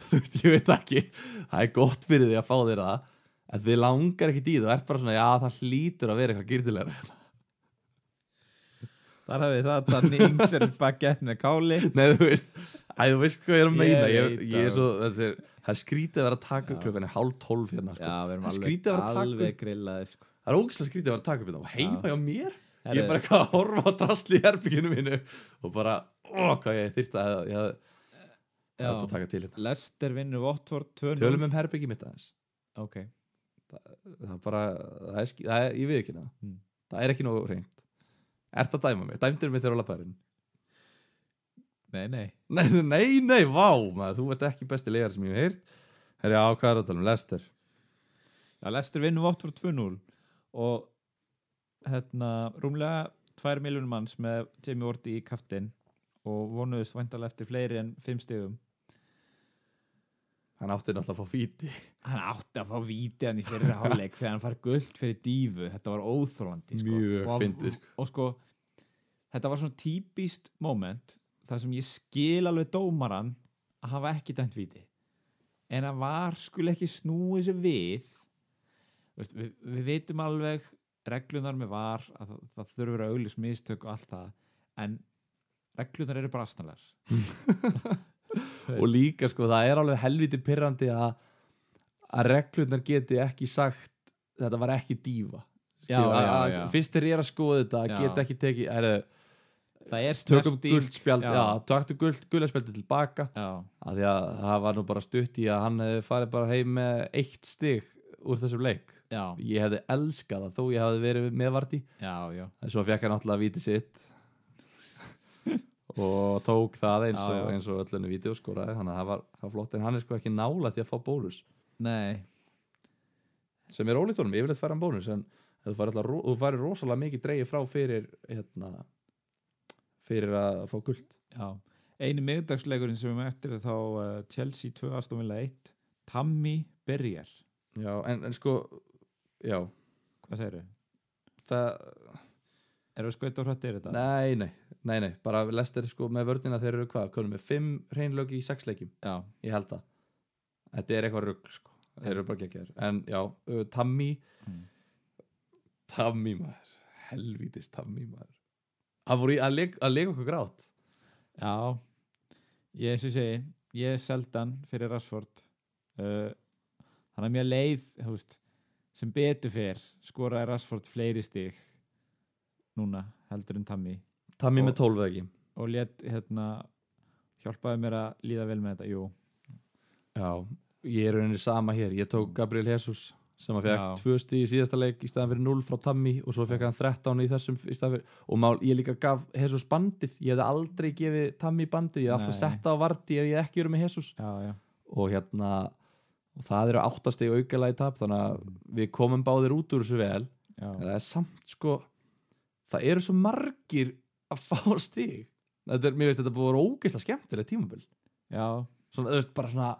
A: þú veist, ég veit það ekki, það er gott fyrir þig að fá þér það en þið langar ekki í það, það er bara svona, já það hlýtur að vera eitthvað gyrtilega
B: þar hafið þið það að Danny Ings er bagett með káli
A: nei, þú veist, æ, þú veist hvað ég er að meina
B: Ég
A: ég,
B: veit
A: ég er
B: það.
A: svo, þetta er, það er skrítið að vera að taka
B: Já.
A: upp klukkan er hálf tólf hérna, sko.
B: Já, við erum
A: Það er
B: alveg,
A: skrítið að vera að taka
B: alveg grillaði sko.
A: það er ógislega skrítið að vera að taka upp þetta og heima hjá mér ég
B: Herru.
A: er bara eitthvað að horfa á drasli í herbygginu mínu og bara, ó, hvað ég þyrta að ég hafði
B: Já.
A: hægt að taka til þetta
B: Lester vinnur Votvort 2-0
A: tölum um herbyggi mitt aðeins
B: Ok,
A: það er bara, það er, skí- það er ég við ekki það
B: Mm.
A: það er ekki nógu reynd ert að dæma mig, dæmdur mig þegar á lapparinn
B: nei, nei
A: nei, nei, nei, vá, maður, þú ert ekki besti legar sem ég hef heyrt herri, á, hvað er að tala um, Lester
B: Já, Lester vinnur Votvort 2-0 og hérna rúmlega 2 miljónum manns með Jamie Vorti í kaftin og vonuðist væntalega eftir fleiri en 5 stigum
A: hann átti náttúrulega að fá fíti
B: Hann átti að fá vítið hann í fyrir hálfleik þegar hann fær guld fyrir dífu þetta var óþrólandi sko.
A: Mjög
B: Og-
A: fyndið, sko.
B: og sko, þetta var svona típist moment þar sem ég skil alveg dómaran að hafa ekki dæmt víti en að var skul ekki snúið sér við Veist, við, við veitum alveg reglunar með var að það, það þurfur að auðlis mistök og allt það en reglunar eru bara astanlegar
A: og líka sko það er alveg helviti pyrrandi að að reglurnar geti ekki sagt þetta var ekki dífa
B: Já,
A: Skilur,
B: já,
A: að- að
B: já.
A: Fyrst er ég að skoða þetta
B: Já.
A: geta ekki tekið er,
B: það er
A: tökum
B: snerting-
A: gult spjald
B: já.
A: já, tökum gult, gula spjaldi tilbaka
B: já,
A: af því að það var nú bara stutt í að hann hefði farið bara heim með eitt stig úr þessum leik
B: já,
A: ég hefði elskað það þó ég hefði verið meðvarti
B: já, já
A: en svo fekk hann alltaf að víti sitt og tók það eins
B: Já,
A: og,
B: já.
A: eins og öllunni sko, vídeoskoraði þannig að það var, það var flott en hann er sko ekki nála því að fá bólus
B: Nei
A: sem er ólíkt honum, yfirleitt fær hann bónus en þú færi, alltaf, ro- þú færi rosalega mikið dreigið frá fyrir hérna, fyrir að fá guld
B: Já, einu miðdagsleikurinn sem við mættir er þá uh, Chelsea 2 Aston Villa 1 Tammy Berger,
A: já, en, en sko já,
B: hvað segirðu?
A: það,
B: Erum við skveit og hrættir þetta?
A: nei, nei, nei, nei bara lestir sko með vörnina þeir eru hvað konum með fimm reynlöki í sex leikjum
B: Já,
A: ég held það, þetta er eitthvað rugg sko. þeir eru bara geggjaður, en já uh, Tammy
B: Mm.
A: Tammy maður, helvítist Tammy maður hann voru í að leika, að leika okkur grátt
B: já Ég eins og ég segi, ég er seldan fyrir Rashford uh, Hann er mjög leið þú veist, sem betur fer skoraði Rashford fleiri stig núna, heldur en Tammy
A: Tammy
B: Og-
A: með tólf eða ekki
B: og létt hérna hjálpaði mér að líða vel með þetta, jú
A: Já, ég er rauninni sama hér Ég tók Gabriel Jesus sem að fekk
B: Já.
A: tvö stíð í síðasta leik í staðan fyrir 0 frá Tammy og svo fekk hann 13 í þessum í staðan fyrir, og mál, ég líka gaf Jesus bandið, ég hefði aldrei gefið Tammy bandið, ég hefði alltaf
B: Nei.
A: sett það á varti ef ég ekki verið með Jesus
B: Já, já,
A: og hérna, og það eru áttastig aukala í tap, þannig að við komum báðir út úr þessu vel,
B: já,
A: en það er samt sko, það eru svo margir að fá stig þetta er, mér veist, þetta búið að vera ógeðslega skemmtilega tímabil
B: já,
A: svona, þú veist, bara svona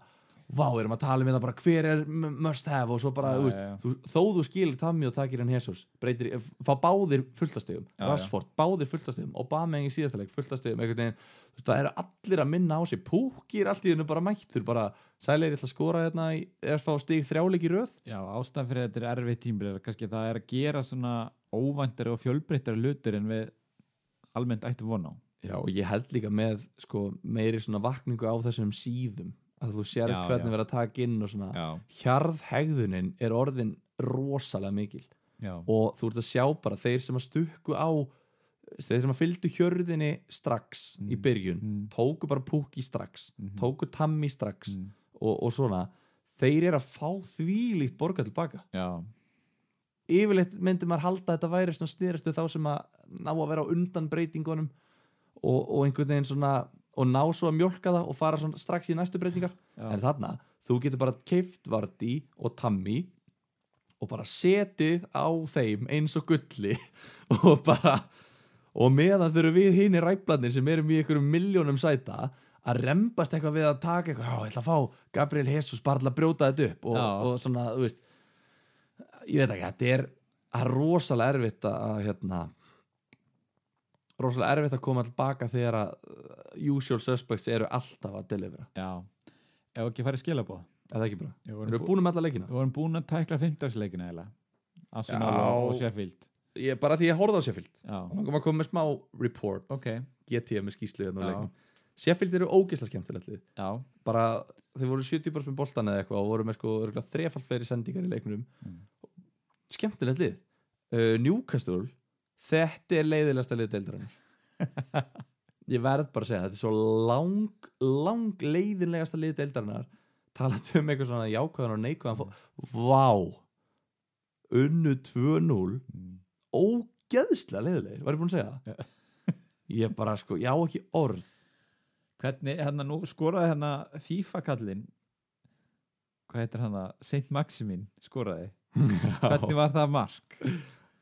A: vá, erum að tala um þetta bara hver er m- must have og svo bara,
B: Já,
A: þú veist,
B: já, já.
A: þú, þó þú skilir Tammy og takir hann Jesus, breytir, í- fá báðir fulltastegum,
B: Já, já.
A: Rashford, báðir fulltastegum Obama engi síðastaleg, fulltastegum einhvern veginn, þú veist, það eru allir að minna á sig púkir allt í þennu bara mættur bara, sælir, ég ætla að skora hérna í- eða fá stig þrjáleik í röð
B: Já, ástæðan fyrir þetta er erfið tímbil er kannski að það er að gera svona óvæntari og fjölbreyttari hlutur en við almennt ættum von á
A: Já, og ég held líka með sko, meiri svona vakningu á þessum síðum að þú sér
B: Já,
A: hvernig
B: já.
A: verið að taka inn og svona,
B: Já,
A: hjarðhegðunin er orðin rosalega mikil
B: já,
A: og þú ert að sjá bara þeir sem að stukku á þeir sem að fylgdu hjörðinni strax í byrjun,
B: mm.
A: tóku bara púki strax
B: Mhm.
A: tóku tammi strax
B: Mm.
A: og, og svona, þeir eru að fá þvílíkt borga tilbaka
B: já,
A: yfirleitt myndi maður halda að þetta væri svona snýrastu þá sem að ná að vera á undan breytingunum og, og einhvern veginn svona og ná svo að mjólka það og fara svona strax í næstu breytingar
B: já,
A: en þarna, þú getur bara keift Vardí og Tammy og bara setið á þeim eins og gulli og bara og meðan þurfum við hinn í ræplanir sem erum í einhverjum miljónum sæta að rembast eitthvað við að taka eitthvað, já, ég ætla að fá Gabriel Jesus bara til að brjóta þetta upp og,
B: Já.
A: og svona, þú veist ég veit ekki, þetta er það er rosalega erfitt að hérna, rosalega erfitt að koma tilbaka þegar að uh, usual suspects eru alltaf að delivera,
B: já Ef ekki farið skilabóð
A: eða ekki bara
B: Við
A: Erum
B: vorum,
A: við
B: bú,
A: búin um alla leikina?
B: við vorum búin að tækla 15. leikina eða Arsenal
A: Já.
B: og- og Sheffield
A: Ég, bara því ég horfði á Sheffield
B: Já,
A: Langum að koma með smá report
B: ok,
A: Get ég með skýslu hérna á
B: Já.
A: leikum Sheffield eru ógeðslega skemmtilegt lið
B: já,
A: Bara þeir voru 70% með boltan eða eitthvað Og voru með sko örugglega þrefalt fleiri sendingar í leiknum
B: Mm.
A: Skemmtilegt lið uh, Newcastle Þetta er leiðilegasta lið deildarinn Ég verð bara að segja Þetta er svo lang, lang leiðilegasta lið deildarinnar Talandi um eitthvað svona jákvæðan og neikvæðan fó- Vá Unnu 2-0
B: Mm.
A: ógeðslega leiðilegir, var ég búin að segja það? ég bara sko, ég á ekki orð
B: Hvernig, hérna nú skoraði hérna FIFA kallinn Hvað heitir hann það? Saint Maximin skoraði Hvernig var það mark?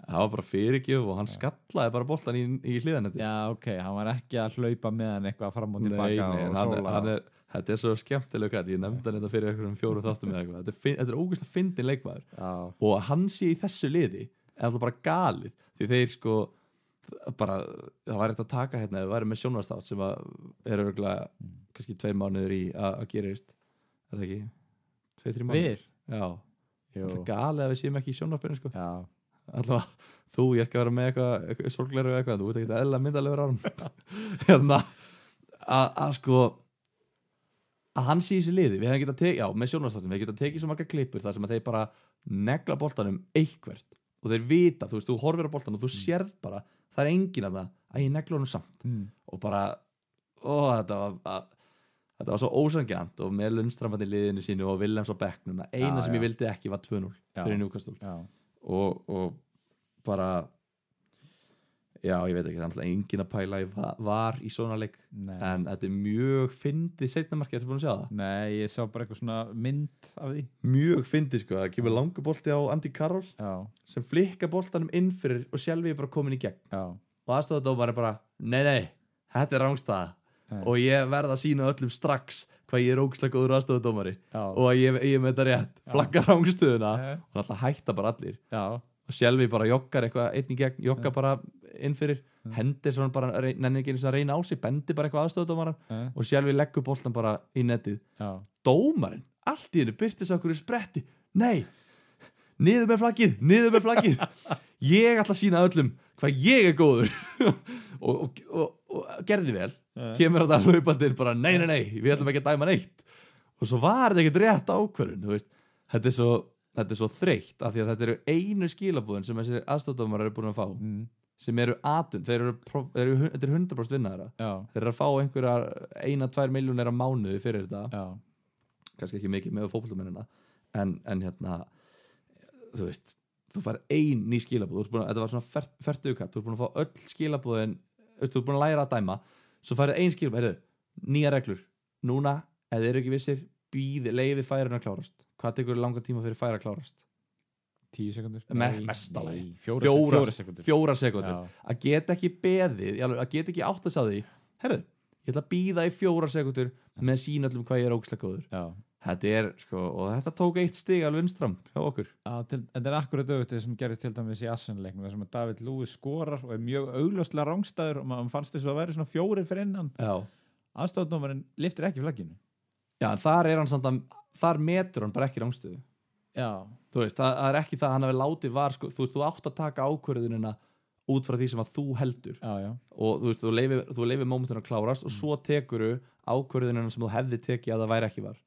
A: það var bara fyrirgjöf og hann skallaði bara boltan í, í hliðanetti
B: Já, ok, hann var ekki að hlaupa með hann eitthvað fram og
A: nei, nei,
B: tilbaka og
A: hann, er-
B: sóla.
A: hann er þetta er svo skemmtilega kall, ég nefndi hann þetta fyrir einhverjum fjórum þáttum eða eitthvað, þetta er, fin- þetta er ógeðslega fyndin leikmaður
B: Já,
A: og að hann sé í þessu liði er alltaf bara galið, því þeir sko bara, það væri þetta að taka hérna, það væri með sjónvarstátt sem að eru örgulega,
B: Mm.
A: kannski tvei mánuður í að að gerist, er það ekki tvei, þrjum mánuður?
B: við?
A: Já,
B: Jú,
A: Þetta er galið að við séum ekki í sjónvarpinu sko.
B: já,
A: Alltaf þú, ég er ekki að vera með eitthvað, eitthvað sorgleru eða eitthvað, þú veit ekki að eðla myndalegur árum hérna að að sko að hann sé í sér liði, við hefum getað tekið já, með sjónvarpstáttum, við hefum getað tekið svo marga klippur þar sem að þeir bara negla boltanum eitthvert og þeir vita, þú veist, þú horfir á boltanum og þú sérð bara, það er engin að það að ég negla honum samt
B: mm,
A: og bara, ó, þetta var að, þetta var svo ósangjant og með Lundstramandi liðinu sínu og Willems á bekknum, að eina
B: Já,
A: sem ég
B: já.
A: vildi ekki var 2-0
B: já,
A: fyrir Newcastle
B: já,
A: og, og bara já, ég veit ekki, það er alltaf engin að pæla í va- var í svona leik
B: Nei.
A: en þetta er mjög fyndið setna markið, ertu búin að sjá það?
B: Nei, ég sá bara eitthvað svona mynd af því
A: Mjög fyndið sko, það kemur langu bolti á Andy Carroll
B: Já,
A: sem flikka boltanum inn fyrir og sjálfi er bara komin í gegn
B: já
A: og aðstofadómar er bara, nei nei, þetta er rángstaða
B: Nei.
A: og ég verð að sína öllum strax hvað ég er ógislega góður aðstofadómari
B: Já,
A: og að ég, ég er með þetta rétt,
B: Já.
A: flagga rángstöðuna
B: Já.
A: og alltaf hætta bara allir
B: Eh? já,
A: og sjálfi bara joggar eitthvað einn í gegn, joggar
B: Já.
A: bara inn fyrir hendir svona bara, rey- nennir ekki einu sinni að reyna á sig bendir bara eitthvað aðstofadómaran
B: já,
A: og sjálfi leggur boltan bara í nettið
B: Eh? já,
A: dómarinn, allt í hennu byrtist okkur í spretti, nei niður með flaggið, niður með flaggið ég ætla að sína öllum hvað ég er góður og, og, og, og gerði vel kemur þetta hlaupandinn bara nei, nei, nei við ætlum ekki að dæma neitt og svo var þetta ekkert rétt ákvörðun þú veist, þetta er svo þetta er svo þreytt af því að þetta eru einu skilabúðin sem þessi aðstofdómar eru búin að fá
B: Mm,
A: sem eru atun, þeir eru, pro- þeir eru, þeir eru 100% vinnaðara
B: já,
A: þeir eru að fá einhverjar eina, tvær miljónir á mánuði fyrir þetta
B: já,
A: kannski ekki mikið með fótboltamennina en, en hérna þú veist, þú farið ein ný skilabúð þú ert búin að, þetta var svona fert, fertugukat þú ert búin að fá öll skilabúðin þú veist, þú ert búin að læra að dæma svo farið ein skilabúð, heyrðu, nýja reglur núna, ef þið eru ekki vissir býði, leiði færið að klárast hvað tekur langan tíma fyrir færi að klárast
B: tíu sekundur
A: Me- mesta lagi.
B: fjóra,
A: Fjórar-
B: fjóra sekundur
A: fjóra sekundur,
B: Já,
A: að geta ekki beðið í alveg- að geta ekki átt að sá því heyrðu, ég ætla að býða í fjóra sekundur með sín öllum hvað ég er ógslag góður
B: já
A: þetta er, sko, og þetta tók eitt stig alveg unstram hjá okkur
B: Já, til, þetta er akkurat auðvitað það sem gerist til dæmis í Assenleiknum þar sem að David Lewis skorar og er mjög augljóslega rángstæður og maður fannst þess að væri svona fjórir fyrir innan
A: já
B: aðstofnómarinn liftir ekki flagginu
A: Já, en þar er hann samt að, þar metur hann bara ekki rángstöðu.
B: Já,
A: Þú veist, það, það er ekki það að hann hafi látið var, sko, þú veist, þú átt að taka ákvörðunina út frá því sem að þú heldur
B: já, já,
A: og þú veist, þú leifir, þú leifir mómentinu að klárast og svo tekuru ákvörðunina sem þú hefði tekið að það væri ekki var.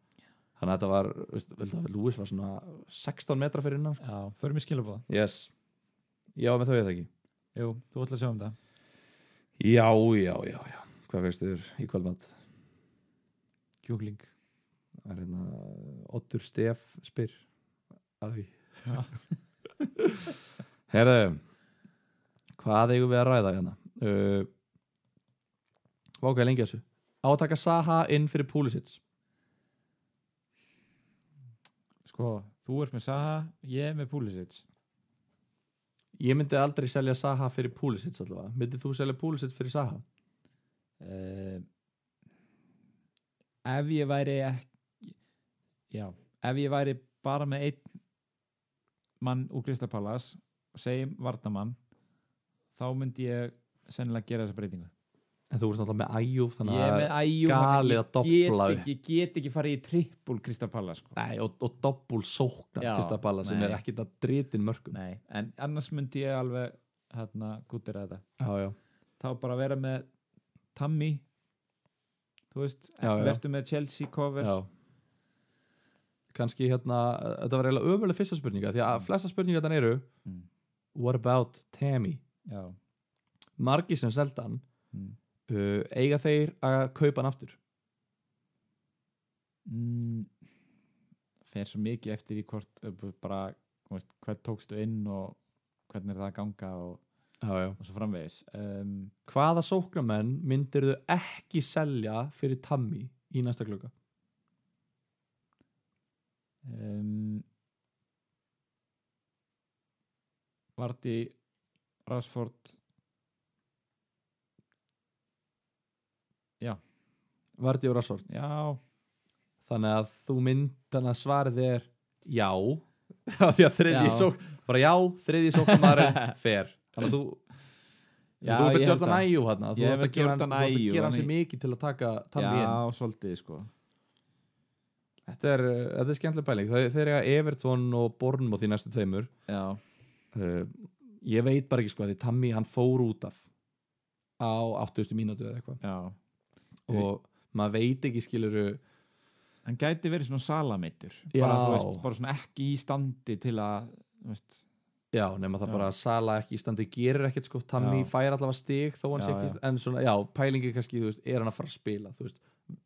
A: Þannig að þetta var, þú veist, vel, það var Lewis var svona 16 metra fyrir innan, sko.
B: já, förum í skilabóða
A: Yes. Já, með þau ég það ekki.
B: Jú, þú ætlar að sjá um það
A: Já, já, já, já. Hvað veist þér í kvöldmatt?
B: Kjúkling
A: Það er hérna, Otur Stef spyr að því
B: Já.
A: Herðu hvað eigum við að ræða hérna uh, vákaði lengi að þessu á að taka Saha inn fyrir Púlisits
B: Sko, þú ert með Saha, ég er með Pulisic
A: ég myndi aldrei selja Saha fyrir Púlisits allavega, myndið þú selja Púlisits fyrir Saha
B: uh, Ef ég væri ekki Já, ef ég væri bara með einn mann úr Kristapalas segjum varnamann þá myndi ég sennilega gera þessa breytingu
A: en þú ert náttúrulega með Æjúf þannig
B: Ég er með æjú
A: galið að dobla
B: ég, get ekki- ég get ekki farið í trippul Kristapalas sko.
A: Nei, og, og doppul sóknar
B: Já,
A: fyrsta balla sem
B: nei.
A: er ekkit að dritin mörgum
B: Nei, en annars myndi ég alveg hérna gúttir að þetta
A: já, já.
B: þá bara vera með Tammy þú veist,
A: Já, já.
B: verður með Chelsea cover
A: Já kannski hérna, þetta var eiginlega ömuleg fyrsta spurninga því að
B: Mm.
A: flesta spurninga þannig eru
B: Mm.
A: What about Tammy?
B: já.
A: Margi sem selda hann
B: Mm.
A: uh, eiga þeir að kaupa hann aftur
B: Mm, fer svo mikið eftir í hvort ö, b- bara, þú veist, hvern tókstu inn og hvernig er það að ganga og,
A: já, já.
B: og svo framvegis um,
A: Hvaða sóknarmenn myndir þau ekki selja fyrir Tammy í næsta klukka?
B: um, Varti Rashford
A: Vardi og Rassort
B: já,
A: þannig að þú mynd, þannig að svarið er já Af því að þriðji
B: Já.
A: sók bara já, þriðji sóknarmenn fer þannig að þú
B: já
A: þú ert
B: ég
A: með
B: held
A: Jordan
B: að-
A: Ayew hérna þú
B: Ég er
A: ert að
B: með
A: gera hann, þú
B: Jordan
A: ert að
B: Ayew,
A: gera hann sér
B: hann-
A: mikið til að taka Tammy inn
B: já, svolítið sko
A: Þetta er, uh, þetta er skemmtileg pæling Þe- Þeir eru Everton og Bournemouth í næstu tveimur
B: já,
A: uh, Ég veit bara ekki sko að því Tammy hann fór út af á 80. mínútu eða eitthvað
B: já
A: og maður veit ekki skiluru
B: hann gæti verið svona salamittur
A: Já.
B: bara, þú veist, bara svona ekki í standi til að þú veist,
A: Já, nema það
B: Já.
A: bara að Sala ekki í standi gerir ekkert sko, Tammy
B: Já.
A: fær allavega stig þó hann
B: Já,
A: sé ekki, en svona, já, pælingi kannski, þú veist, er hann að fara að spila, þú veist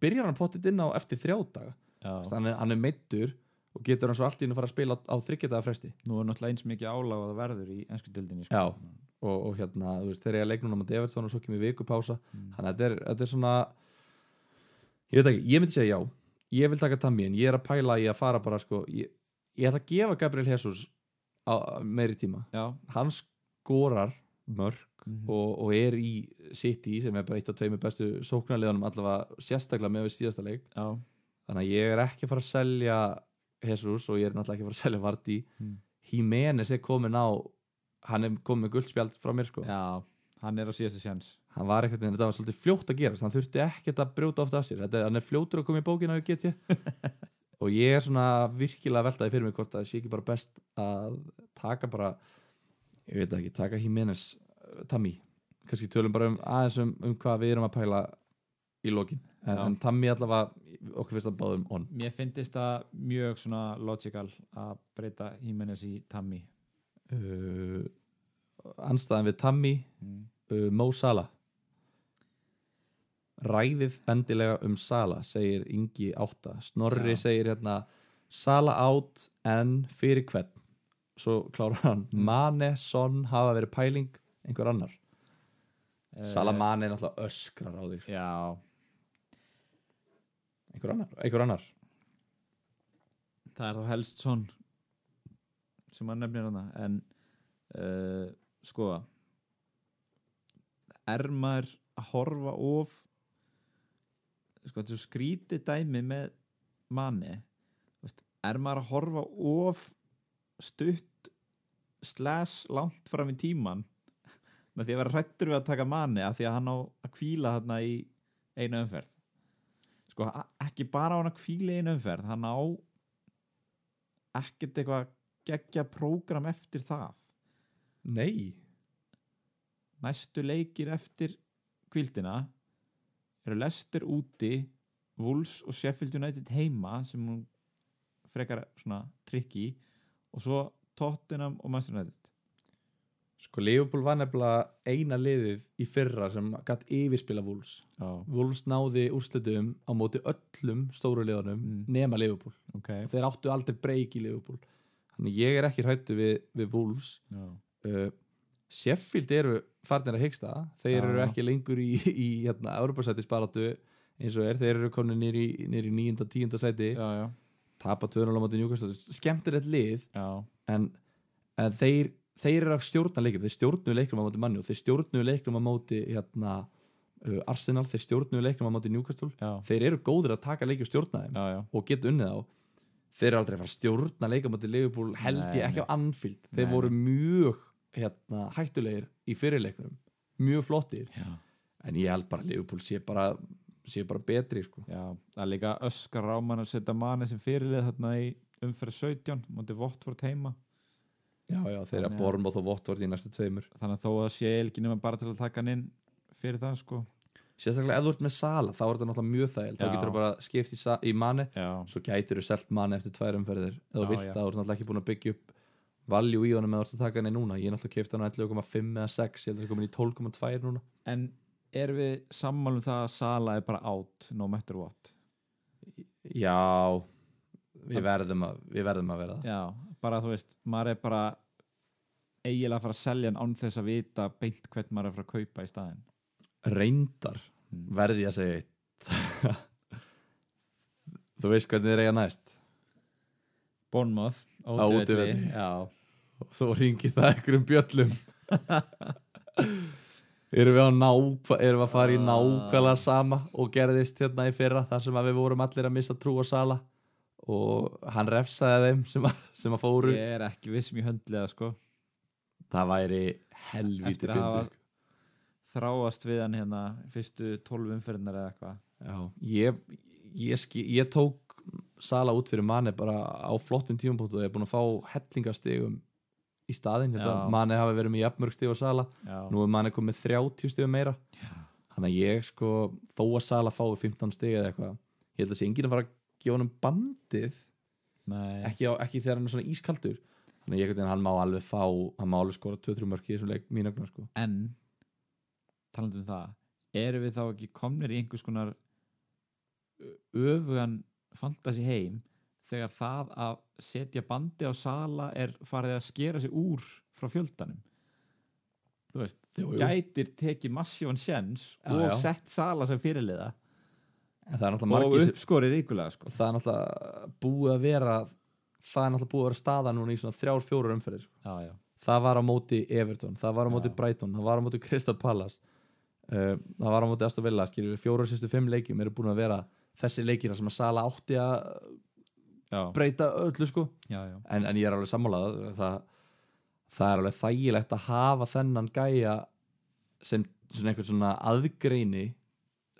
A: byrjar hann að pottit inn á eftir þrjá daga
B: já.
A: hann er, hann er meittur og getur hann svo allt í hennu að fara að spila á, á þryggjadaða fresti
B: sko. nú er náttúrulega eins mikið álag að það verður í ennsku dildinni
A: Já. og, og hérna, þú veist, þegar ég að leiknum á móti Everton og svo kemur vikupása
B: Mm.
A: þannig að þetta er, þetta er svona ég veit ekki, ég myndi segja já ég vil taka Tami en ég er að pæla í að fara bara sko, ég, ég ætla að gefa Gabriel Jesus á, meiri tíma
B: já,
A: hann skorar mörg
B: Mhm.
A: og, og er í City sem er bara eitt af tveimur bestu sóknarleðunum allavega sérstaklega með við síðasta leik
B: já,
A: þannig að ég er ekki að fara að selja Jesus og ég er náttúrulega ekki að fara að selja Vardí
B: Mm.
A: Jimenez er komin á hann er komin með guldspjald frá mér sko
B: já hann er á síðasta sjans
A: hann var eitthvað, þetta var svolítið fljótt að gerast hann þurfti ekkert að brjóta ofta af sér þetta, er- hann er fljótur að koma í bókina og get ég og ég er svona virkilega veltaði fyrir mig hvort að það sé ekki bara best að taka bara ég veit það ekki, taka Jimenez uh, Tammy, kannski tölum bara um aðeins um, um hvað við erum að pæla í lokin, en,
B: Já.
A: en Tammy allavega okkur finnst að báðum on
B: mér finnst það mjög svona logical að breyta Hímenes í Tammy
A: uh, anstæðan við Tammy
B: mm.
A: uh, Mo Sala Ræðið endilega um Sala segir Ingi Átta Snorri
B: Já.
A: segir hérna Sala átt en fyrir hvern svo klárar hann
B: Mm.
A: Mane, Son hafa verið pæling einhver annar
B: Eh.
A: Sala Mane er náttúrulega öskrar á þig sko.
B: já,
A: einhver annar, einhver annar.
B: það er þá helst svon sem hann nefnir hana en uh, sko er maður að horfa of sko þetta er svo skrítið dæmi með manni Vist, er maður að horfa of stutt slash langt fram í tíman með því að vera hrættur við að taka manni af því að hann á að kvíla þarna í einu umferð sko a- ekki bara á hann að kvíla í einu umferð hann á ekkert eitthvað geggja prógram eftir það
A: Nei,
B: næstu leikir eftir kvildina eru Lester úti Wolves og Sheffield United heima sem hún frekar svona trikki og svo Tottenham og Manchester United
A: sko Leopold var nefnilega eina liðið í fyrra sem gatt yfirspila Wolves
B: oh.
A: Wolves náði úrslitum á móti öllum stóru liðunum
B: Mm.
A: nema Leopold
B: ok
A: og þeir áttu aldrei breyk í Liverpool þannig ég er ekki hrættu við, við Wolves
B: já,
A: uh, Sheffield eru farnir að hyggsta þeir
B: Já,
A: eru
B: já.
A: ekki lengur í, í hérna, Europasæti sparatu eins og er, þeir eru komin nýr í, niður í 9. og 10. sæti
B: já, já,
A: tapa 2-0 á móti njúkastóti, skemmtilegt lið
B: já.
A: en, en þeir, þeir eru að stjórna leikum þeir stjórnu leikum á móti manni og þeir stjórnu leikum á móti hérna, uh, Arsenal, þeir stjórnu leikum á móti njúkastól
B: já.
A: þeir eru góðir að taka leikjum stjórnaðum
B: já, já.
A: og geta unnið á þeir eru aldrei að fara að stjórna leikamóti Liverpool held
B: Nei,
A: ég ekki
B: nei.
A: á Anfield þeir
B: Nei,
A: voru mjög hérna, hættulegir í fyrirleiknum mjög flottir,
B: já.
A: en ég held bara að Liverpool sé bara, sé bara betri sko.
B: Já, það er líka öskar á mann að setja manni sem fyrirlið þarna í umferð 17, mútið Votvort heima
A: já, já, þeir eru
B: Þannig að-
A: að Bormóð og Votvort í næstu tveimur
B: þannig að þó að sé ekki nema bara til að taka hann inn fyrir það sko
A: sérstaklega ef þú ert með Sala, þá er þetta náttúrulega mjög þægild þá
B: Já.
A: getur þú bara skipt í, Sa- í manni
B: já,
A: svo gætir þú selt manni eftir tvær umferðir eða
B: Já,
A: þú vilt
B: já.
A: það, þú ert náttúrulega ekki búin að byggja upp valjú í honum eða þú ert að taka henni núna ég er náttúrulega keift hann á 11,5 eða 6 ég held að það er komin í 12,2 núna
B: en erum við sammálum það að Sala er bara out no matter what
A: Já við verðum að, við verðum að vera það
B: já, bara þú veist, maður er bara eiginlega að fara að selja hann án þess að vita beint hvern maður er að fara að kaupa í staðin
A: Reyndar
B: Mm.
A: verði ég að segja eitt Þú veist hvernig þið reyja næst
B: Bournemouth,
A: Á útivelli.
B: já,
A: og svo ringi það einhverjum bjöllum Erum við, á nákva, erum við að fara í
B: Ah.
A: nákvæmlega sama og gerðist hérna í fyrra þar sem að við vorum allir að missa trú á sala og hann refsaði þeim sem að, sem að fóru
B: ég er ekki vissum í höndlega sko,
A: Það væri
B: Eftir
A: helvítið
B: að
A: fyndið sko.
B: hafa- þráast við hann hérna fyrstu 12 umferðinar eða eitthvað
A: Já, ég, ég, ski, ég tók Sala út fyrir manni bara á flottum tímapunktu og ég er búin að fá hellingastigum í staðinn
B: Já.
A: hérna. manni hafi verið með jafnmörg stig og Sala
B: já,
A: nú er manni komið 30 stigum meira
B: Já.
A: þannig að ég sko þó að Sala fái 15 stig eða eitthvað ég held að sé enginn að fara að gefa honum bandið
B: nei,
A: ekki, á, ekki þegar hann er svona ískaldur þannig að ég hvernig hann má alveg fá hann má alveg skora 2-3 mörk í þessum leik mín ögnar sko
B: en talandi um það erum við þá ekki komnir í einhvers konar ö- öfugan fantasi heim þegar það að setja bandi á sala er farið að skera sig úr frá fjöldanum þú veist,
A: Jú, jú.
B: gætir tekið massívan sjens
A: Já,
B: og
A: já.
B: sett Sala sem fyrirliða
A: En það er náttúrulega
B: og
A: margir sem,
B: uppskorið ykkurlega sko.
A: það er náttúrulega búið að vera það er náttúrulega búið að vera staða núna í svona þrjár, fjórar umferðir sko.
B: já, já.
A: það var á móti Everton, það var á móti
B: Já.
A: Brighton það var á móti Crystal Palace uh, það var á móti Aston Villa, skiljum við fjórar sérstu fimm leikjum eru búin að vera þessi leikir þar sem að Sala átti að
B: Já,
A: breyta öllu sko
B: já, já.
A: en, en ég er alveg sammálað það, það er alveg þægilegt að hafa þennan gæja sem svona einhvern svona aðgreini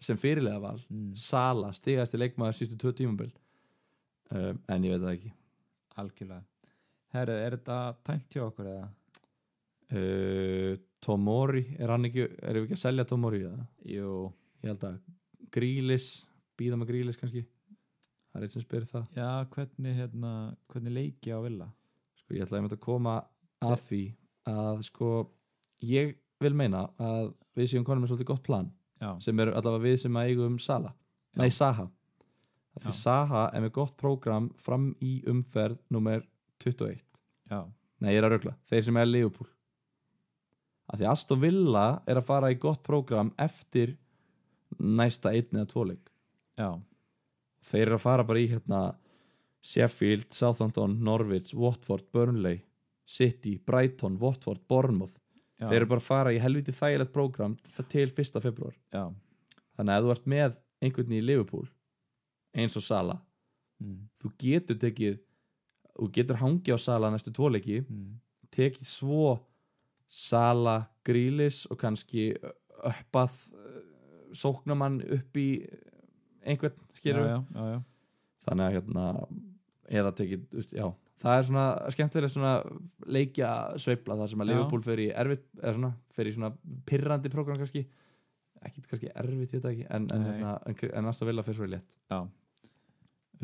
A: sem fyrirlega val
B: Mm,
A: Sala, stigasti leikmaður sístu tvö tímabil um, en ég veit það ekki
B: algjörlega Herru, er þetta tæmt hjá okkur eða?
A: uh, Tomori, er hann ekki erum við ekki að selja Tomori eða?
B: Jú,
A: ég held að Grílis, býða með Grílis kannski það er eitt sem spyrir það
B: já, hvernig hérna, hvernig leiki á Villa?
A: sko, ég ætla að að koma að því að sko ég vil meina að við séum konum með svolítið gott plan
B: Já,
A: sem eru allavega við sem að eigum Sala
B: Já.
A: nei Saha Af því
B: Já.
A: Saha er með gott prógram fram í umferð nummer 21
B: já,
A: nei ég er að rögla, þeir sem er Leopold af því Aston Villa er að fara í gott prógram eftir næsta einn eða tvo leik
B: já,
A: þeir eru að fara bara í hérna Sheffield, Southampton, Norwich, Watford, Burnley City, Brighton, Watford, Bournemouth
B: já,
A: þeir eru bara að fara í helviti þægilegt prógram til 1. februar
B: já.
A: þannig að ef þú ert með einhvern í Liverpool eins og Sala
B: Mm,
A: þú getur tekið þú getur hangið á Sala næstu tvoleiki
B: mm.
A: tekið svo Sala, Grílis og kannski uppað sóknamann upp í einhvern
B: Já,
A: skýrum
B: já, já, já.
A: þannig að hérna eða tekið, þú veist, já það er svona skemmtilega svona leikja sveifla þar sem að
B: Já.
A: Liverpool fer í erfitt eða svona, fer í svona pirrandi program kannski, ekki kannski erfitt ég veit það ekki, en, en,
B: Nei.
A: hérna, en, en Aston Villa fer svo í létt
B: Já.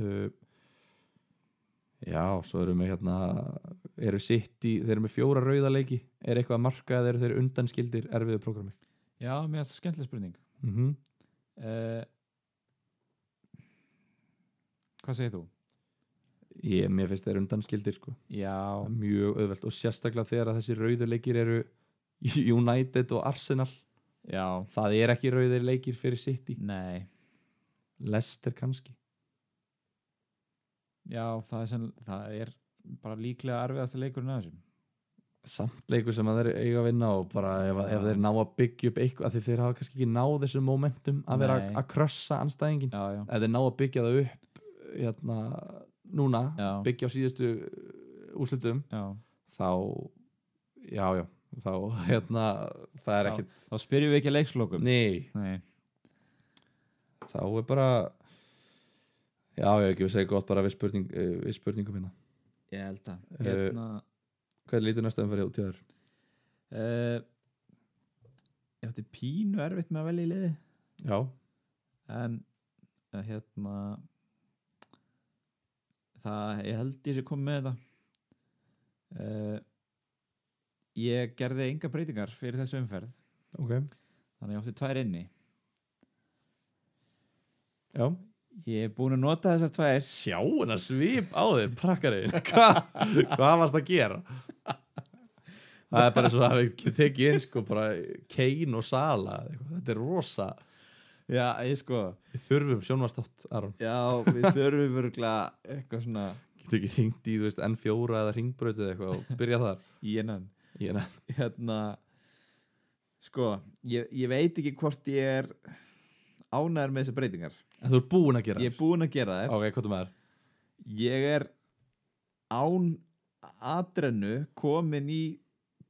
A: uh, já, svo erum við hérna eru sitt í, þeir eru með fjóra rauða leiki er eitthvað að marka eða eru þeir undanskildir erfiðu programmi
B: já mér er það skemmtileg spurning
A: mm
B: Mhm.
A: -hmm.
B: uh, Hvað segir þú?
A: ég, mér finnst þeir undanskildir sko
B: Já,
A: mjög auðvelt og sérstaklega þegar að þessi rauðu leikir eru United og Arsenal
B: já,
A: það er ekki rauðir leikir fyrir City
B: nei
A: Leicester kannski
B: Já, það er, senn, það er bara líklega erfiðasta leikurinn að þessum
A: samt leikur sem að þeir eiga að vinna og bara ef, að- ef þeir ná að byggja upp eitthvað af því þeir hafa kannski ekki náð þessu momentum að vera
B: Nei.
A: að krossa anstæðingin
B: Já, já,
A: ef þeir ná að byggja það upp hérna, núna
B: já,
A: byggja á síðustu úslutum
B: já.
A: þá já já þá hérna það er
B: Já.
A: ekkit
B: Þá spyrjum við ekki að leikslokum
A: nei
B: Nei,
A: þá er bara já, ég hef ekki við segja gott bara við, spurning, eh, við spurningum hérna
B: ég held að
A: Eh,
B: hérna,
A: hvað lítur næsta umferð hjá- til þér?
B: uh, Ég átti pínu erfitt með að velja í liði
A: já,
B: en eh, hérna það, ég held ég sé komið með þetta uh, Ég gerði enga breytingar fyrir þessu umferð
A: ok
B: þannig ég átti tvær inni
A: já.
B: Ég er búin að nota þessar tvær
A: sjá hennar svip á þér, prakkari Hva? hvað varst að gera? það er bara svo að við tekið eins sko bara kein og sala eða eitthvað. þetta er rosa
B: Já, ég sko
A: við þurfum sjónvastátt, Aron
B: Já, við þurfum örgulega eitthvað svona
A: getur ekki hringt í, þú veist, N4 eða ringbrötu eða eitthvað og byrja þar
B: í hennan
A: ég nefn
B: hérna sko, ég, ég veit ekki hvort ég er ánæður með þessar breytingar
A: en þú ert búin að gera
B: ég er búinn að gera þær
A: ok, hvað þú með þér?
B: ég er án atrennu komin í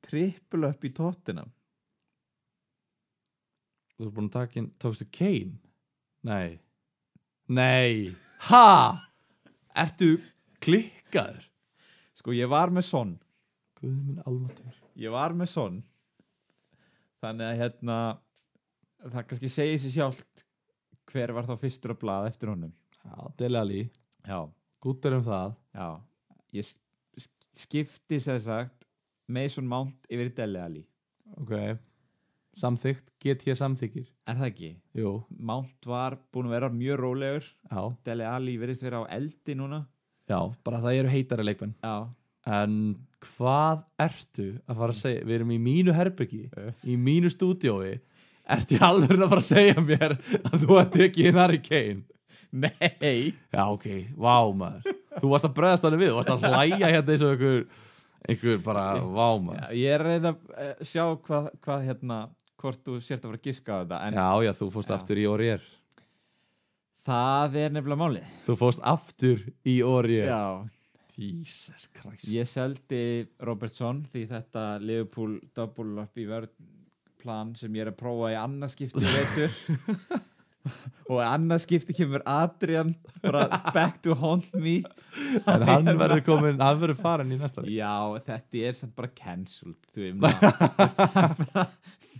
B: triple upp í tóttina
A: Þú ert búin að taka inn, tókstu Kane? Nei Nei, ha? Ertu klikkaður?
B: sko, ég var með son
A: Guð minn almatur
B: ég var með son þannig að hérna það kannski segi sér sjálft hver var þá fyrstur að blaða eftir honum
A: Já, Dele Alli,
B: já
A: gútt er um það
B: Já, ég s- s- skipti sem sagt Mason Mount yfir í Dele Alli
A: Ok Samþykkt, get ég samþykir
B: Er það ekki?
A: Jú,
B: Mount var búin að vera mjög rólegur
A: já,
B: Dele Alli verðist vera á eldi núna
A: já, bara það eru heitari leikmenn
B: Já,
A: en hvað ertu að fara að segja við erum í mínu herbyggi,
B: Eh.
A: í mínu stúdiói ertu í alveg að fara að segja mér að þú ert ekki inn Harry Kane
B: Nei
A: já ok, vá maður þú varst að bregðast hann við, þú varst að hlæja hérna eins og einhver, einhver bara vá maður,
B: Ég er að reyna að eh, sjá hvað, hvað hérna hvort þú sért að fara að giska á þetta en
A: já já, þú fórst
B: Já.
A: aftur í Orier
B: það er nefnilega málið
A: þú fórst aftur í Orier
B: Já,
A: Jesus Christ
B: ég seldi Robertson því þetta Liverpool double up í vörð plan sem ég er að prófa í annarskipti veitur og í annarskipti kemur Adrian bara back to haunt me
A: en hann verður komin, hann verður farin í næsta leik
B: Já, þetta er samt bara cancelled þú veist, maður-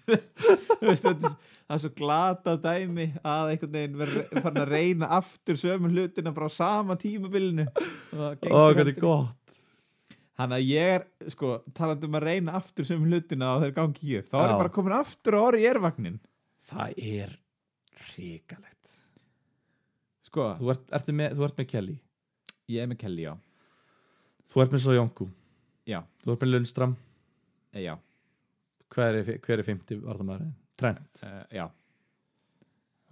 B: þú veist, það er bara þú veist, þetta er s- það er svo glata dæmi að einhvern veginn verður farin að reyna aftur sömu hlutina bara á sama tímabilinu
A: og hvað er gott
B: Þannig að ég er, sko, talandi um að reyna aftur sömu hlutina og þeir gangi ekki upp þá er
A: Já.
B: ég bara komin aftur á orði í ervagnin
A: það er ríkalegt
B: Sko,
A: þú ert, ertu með, þú ert með Kelly
B: ég er með Kelly, já
A: þú ert með Sojonku
B: Já,
A: þú ert með Lundstram
B: eh, já,
A: hver er, fi- hver er 50 vartamæður Trent
B: uh, já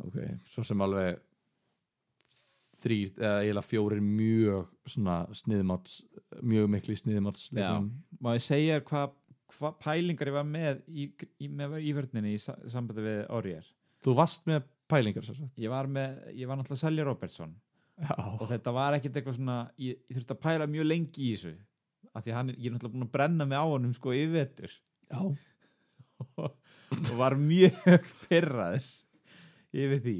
A: ok svo sem alveg þrýr eða eiginlega fjórir mjög svona sniðmáts mjög mikli sniðmáts
B: Má ég segja þér hvað hva pælingar ég var með í, í, með í vörninni í sa- sambandi við orðið
A: þú varst með pælingar svo sagt
B: ég var með, ég var náttúrulega að selja Robertson
A: já
B: og þetta var ekkert eitthvað svona ég, ég þurfti að pæla mjög lengi í þessu af því að hann, er- ég er náttúrulega búin að brenna mig á honum sko yfirvetur
A: já
B: og, og var mjög pyrraður yfir því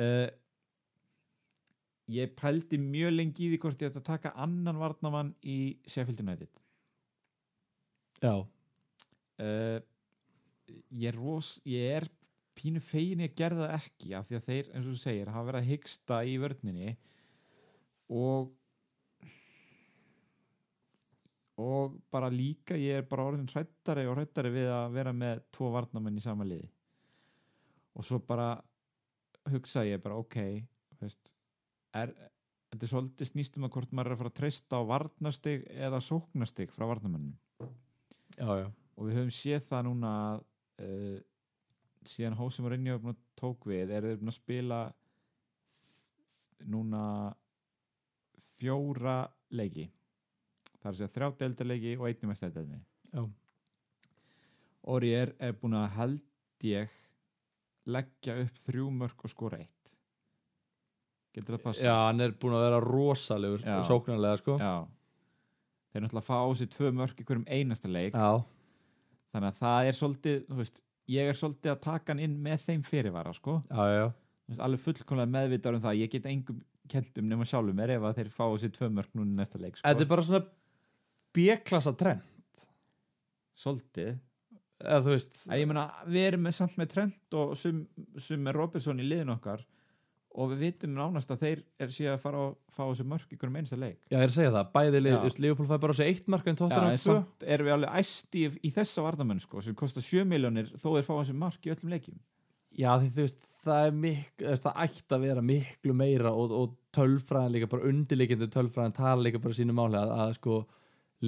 B: uh, ég pældi mjög lengi í því hvort ég ætti að taka annan varnamann í Sheffield United
A: já
B: uh, ég er ros ég er pínu fegin ég gerði það ekki af því að þeir, eins og þú segir, hafa verið að hyggsta í vörninni og og bara líka ég er bara orðin hrættari og hrættari við að vera með tvo varnamenn í sama liði og svo bara hugsa ég bara ok þú veist, er, þetta er svolítið snýstum að hvort maður er að fara að treysta á varnastig eða sóknastig frá varnamennum
A: já já
B: og við höfum séð það núna að uh, síðan Hósi Mourinho er búinn að tók við er þeir búin að spila núna fjóra leiki það er að segja þrjá deildarleiki og einnig mest deildarleiki
A: Já.
B: Ori er, er búin að held ég leggja upp þrjú mörg og skora eitt getur það passa?
A: já hann er búin að vera rosalegur
B: Já.
A: sóknarlega sko
B: Já. þeir náttúrulega fá á sig tvö mörg í hverjum einasta leik
A: já
B: þannig að það er svolítið þú veist, ég er svolítið að taka hann inn með þeim fyrirvara sko,
A: já já, já.
B: Þú veist, alveg fullkomlega meðvitaður um það ég get engum kentum nema sjálfum mér ef að þeir fá sér tvö mörg núna í næsta leik sko.
A: þetta er bara svona B-klassa trend
B: svolítið
A: eða þú veist
B: að ég meina, við erum með samt með Trent og sum, sum með Robertson í liðin okkar og við vitum nánast að þeir er síðan að fara að fá sér mörg í hverjum einasta leik
A: Já, ég er að segja það, bæði lið,
B: Já.
A: þú veist, Liverpool fær bara á sig eitt marka en
B: Já,
A: Tottenham
B: en
A: tvö
B: samt erum við alveg æsti í, í þessa varnamenn sko, sem kostar 7 miljónir þó þeir fá þessi mark í öllum leikjum
A: Já, því þú veist, það er miklu veist, það ætti að vera miklu meira og, og tölfræðin líka, bara undirleikindi tölfræðin tala líka bara sínu máli að, að sko,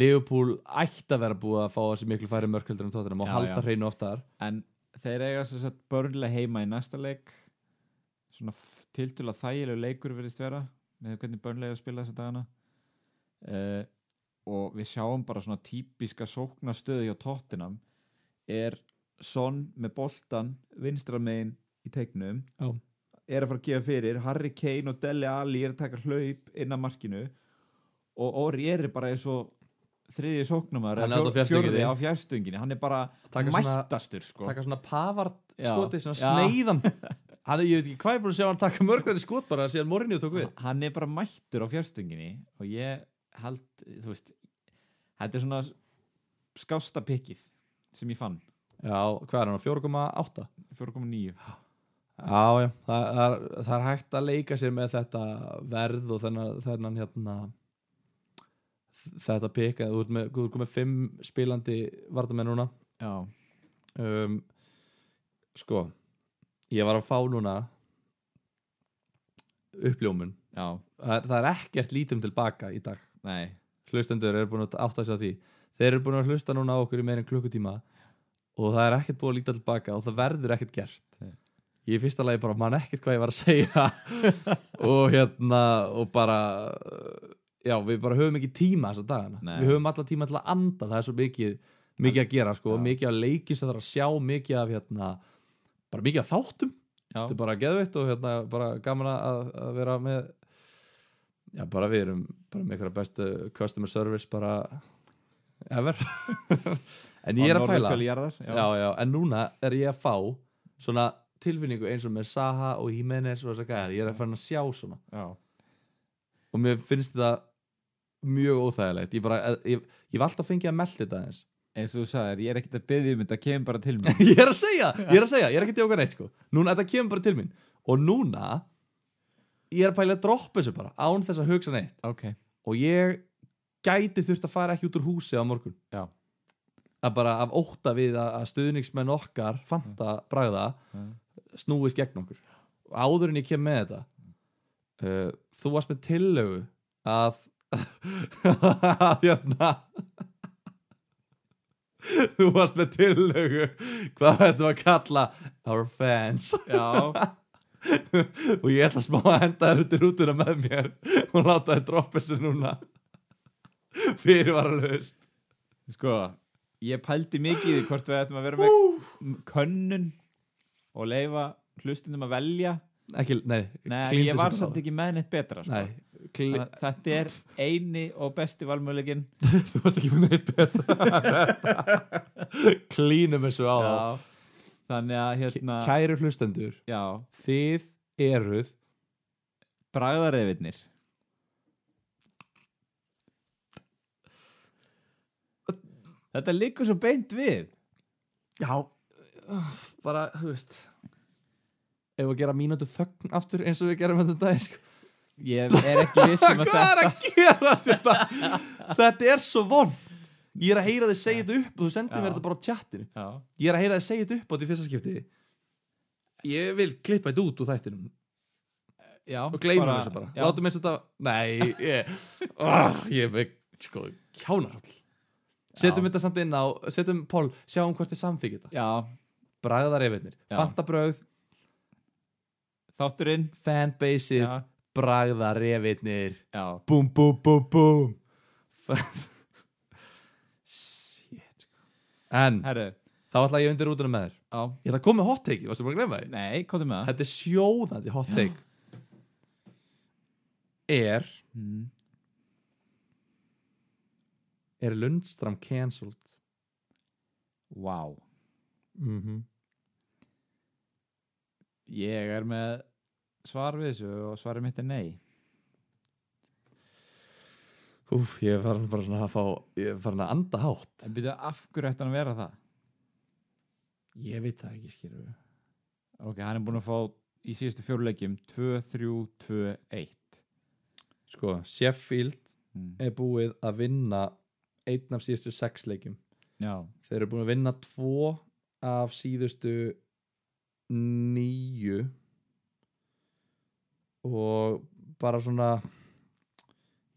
A: Liverpool ætti að vera búið að fá þessi miklu færi mörköldur en Tottenham og
B: Já,
A: halda
B: já.
A: hreinu oftar
B: en þeir eiga sem sagt börnlega heima í næsta leik svona tiltúlega þægilegu leikur verðist vera með hvernig börnlega að spila þessa dagana uh, og við sjáum bara svona típiska sóknastöðu hjá tóttinam er Son með boltan vinstra megin í teiknum
A: Já.
B: er að fara að gefa fyrir Harry Kane og Dele Alli er að taka hlaup inn að markinu og Ori er bara eins og þriðið sóknumar
A: Hann er þarna á fjarstöngin.
B: fjörði á fjærstunginni hann er bara
A: Taka svona-
B: mættastur sko
A: taka svona pavart
B: Já.
A: skotið, svona
B: Já.
A: sneiðan hann, ég veit ekki hvað ég búin að sjá hann taka mörköldur í skot bara síðan Mourinho tók við
B: hann er bara mættur á fjárstunginni og ég held, þú veist þetta er svona skásta pikið sem ég fann
A: Já, hvað er hann, 4,8?
B: 4.9
A: Já, já, það, það, er- það er hægt að leika sér með þetta verð og þennan, þennan hérna þetta pika, þú ert með, þú ert með fimm spilandi vartamenn núna
B: já,
A: um, sko ég var að fá núna uppljómun
B: já,
A: það er, það er ekkert lítum um tilbaka í dag
B: nei
A: hlustendur eru búin að átta sig á því þeir eru búin að hlusta núna á okkur í meirinn klukkutíma og það er ekkert búið að líta tilbaka og það verður ekkert gert
B: Nei.
A: ég í fyrsta lagi bara man ekkert hvað ég var að segja og hérna og bara uh, já við bara höfum ekki tíma þessa dagana
B: Nei.
A: við höfum alla tíma til að anda það er svo mikið mikið að gera sko,
B: Já.
A: mikið að leiki sem það er að sjá mikið af hérna bara mikið að þáttum
B: já,
A: þetta er bara geðvitt og hérna bara gaman að, að vera með já bara við erum bara með einhverja bestu customer service bara ever en ég er að pæla já,
B: jarðar, já.
A: já, en núna er ég að fá svona tilfinningu eins og með Saha og Jimenez og þess að gæða ég er að fara að sjá svona
B: Já.
A: og mér finnst þetta mjög óþægilegt ég bara, ég, ég var alltaf að fengja að melda þetta eins
B: eins og þú sagðir, ég er ekkert að byggja um þetta kemur bara til mig
A: ég er að segja, ég er að segja, ég er ekki að djóka neitt sko. núna, þetta kemur bara til mín og núna, ég er að pæla að droppa þessu bara, án þess að hugsa neitt
B: ok,
A: og ég gæti þurft að fara ekki út úr húsi á morgun
B: Já.
A: að bara af óta við að, að stuðningsmenn okkar fanta bragða
B: Já.
A: snúist gegn okkur Og áður en ég kem með þetta uh, þú varst með tillögu að að hérna þú varst með tillögu hvað þetta var að kalla our fans
B: já,
A: og ég ætla smá að henda þér undir rútuna með mér og láta þér droppa þessu núna fyrirvaralaust
B: sko ég pældi mikið í því hvort við ættum að vera með
A: Ú,
B: könnun og leifa hlustundum að velja
A: ekki, nei,
B: Nei,
A: klíndu
B: ég
A: þessu
B: var
A: bara
B: samt
A: á.
B: ekki með neitt betra sko.
A: nei, kli,
B: Þannig að Þetta er eini og besti valmöðlegin
A: þú varst ekki með neitt betra klínum þessu á það
B: Þannig að hérna
A: kæru hlustendur
B: já,
A: þið eruð
B: Bragðareifirnir Þetta liggur svo beint við
A: já, bara, þú veist ef að gera mínútu þögn aftur eins og við gerum þetta um daginn sko.
B: Ég er ekki vissum að
A: hvað
B: þetta
A: er að gera þetta þetta er svo von ég er að heyra þið segja þetta upp og þú sendir
B: Já.
A: mér þetta bara á chatinu
B: já,
A: ég er að heyra þið segja þetta upp á því fyrsta skipti ég vil klippa þetta út úr þættinum
B: já,
A: og gleyma þessu bara,
B: já,
A: látum eins og þetta nei, ég oh, ég veit, sko, kjánarall setjum
B: Já.
A: þetta samt inn á setjum Pól, sjáum hvort þið samþykja þetta
B: já,
A: bræðar efinnir,
B: Já.
A: fantabröð
B: þátturinn
A: fanbaseið,
B: Já,
A: bræðar efinnir
B: já,
A: búm, búm, búm, búm Fan- shit sko. en,
B: herru
A: þá ætla ég undir rútunum með þér
B: Já,
A: ég ætla að koma með hot take, varstu búin að glemma því
B: nei, komdu með það
A: þetta er sjóðandi hot take er
B: Mm.
A: er Lundström cancelled
B: Vá
A: mm -hmm.
B: Ég er með svar við þessu og svarið mitt er nei
A: Úf, ég er farin bara svona að fá ég er farin að anda hátt
B: En byrja, af hverju ætti hann að vera það?
A: ég veit það ekki skilur við
B: Ok, hann er búin að fá í síðustu fjóruleikjum 2-3-2-1
A: sko, Sheffield
B: mm.
A: er búið að vinna einn af síðustu sex leikjum
B: Já,
A: þeir eru búin að vinna tvo af síðustu níu og bara svona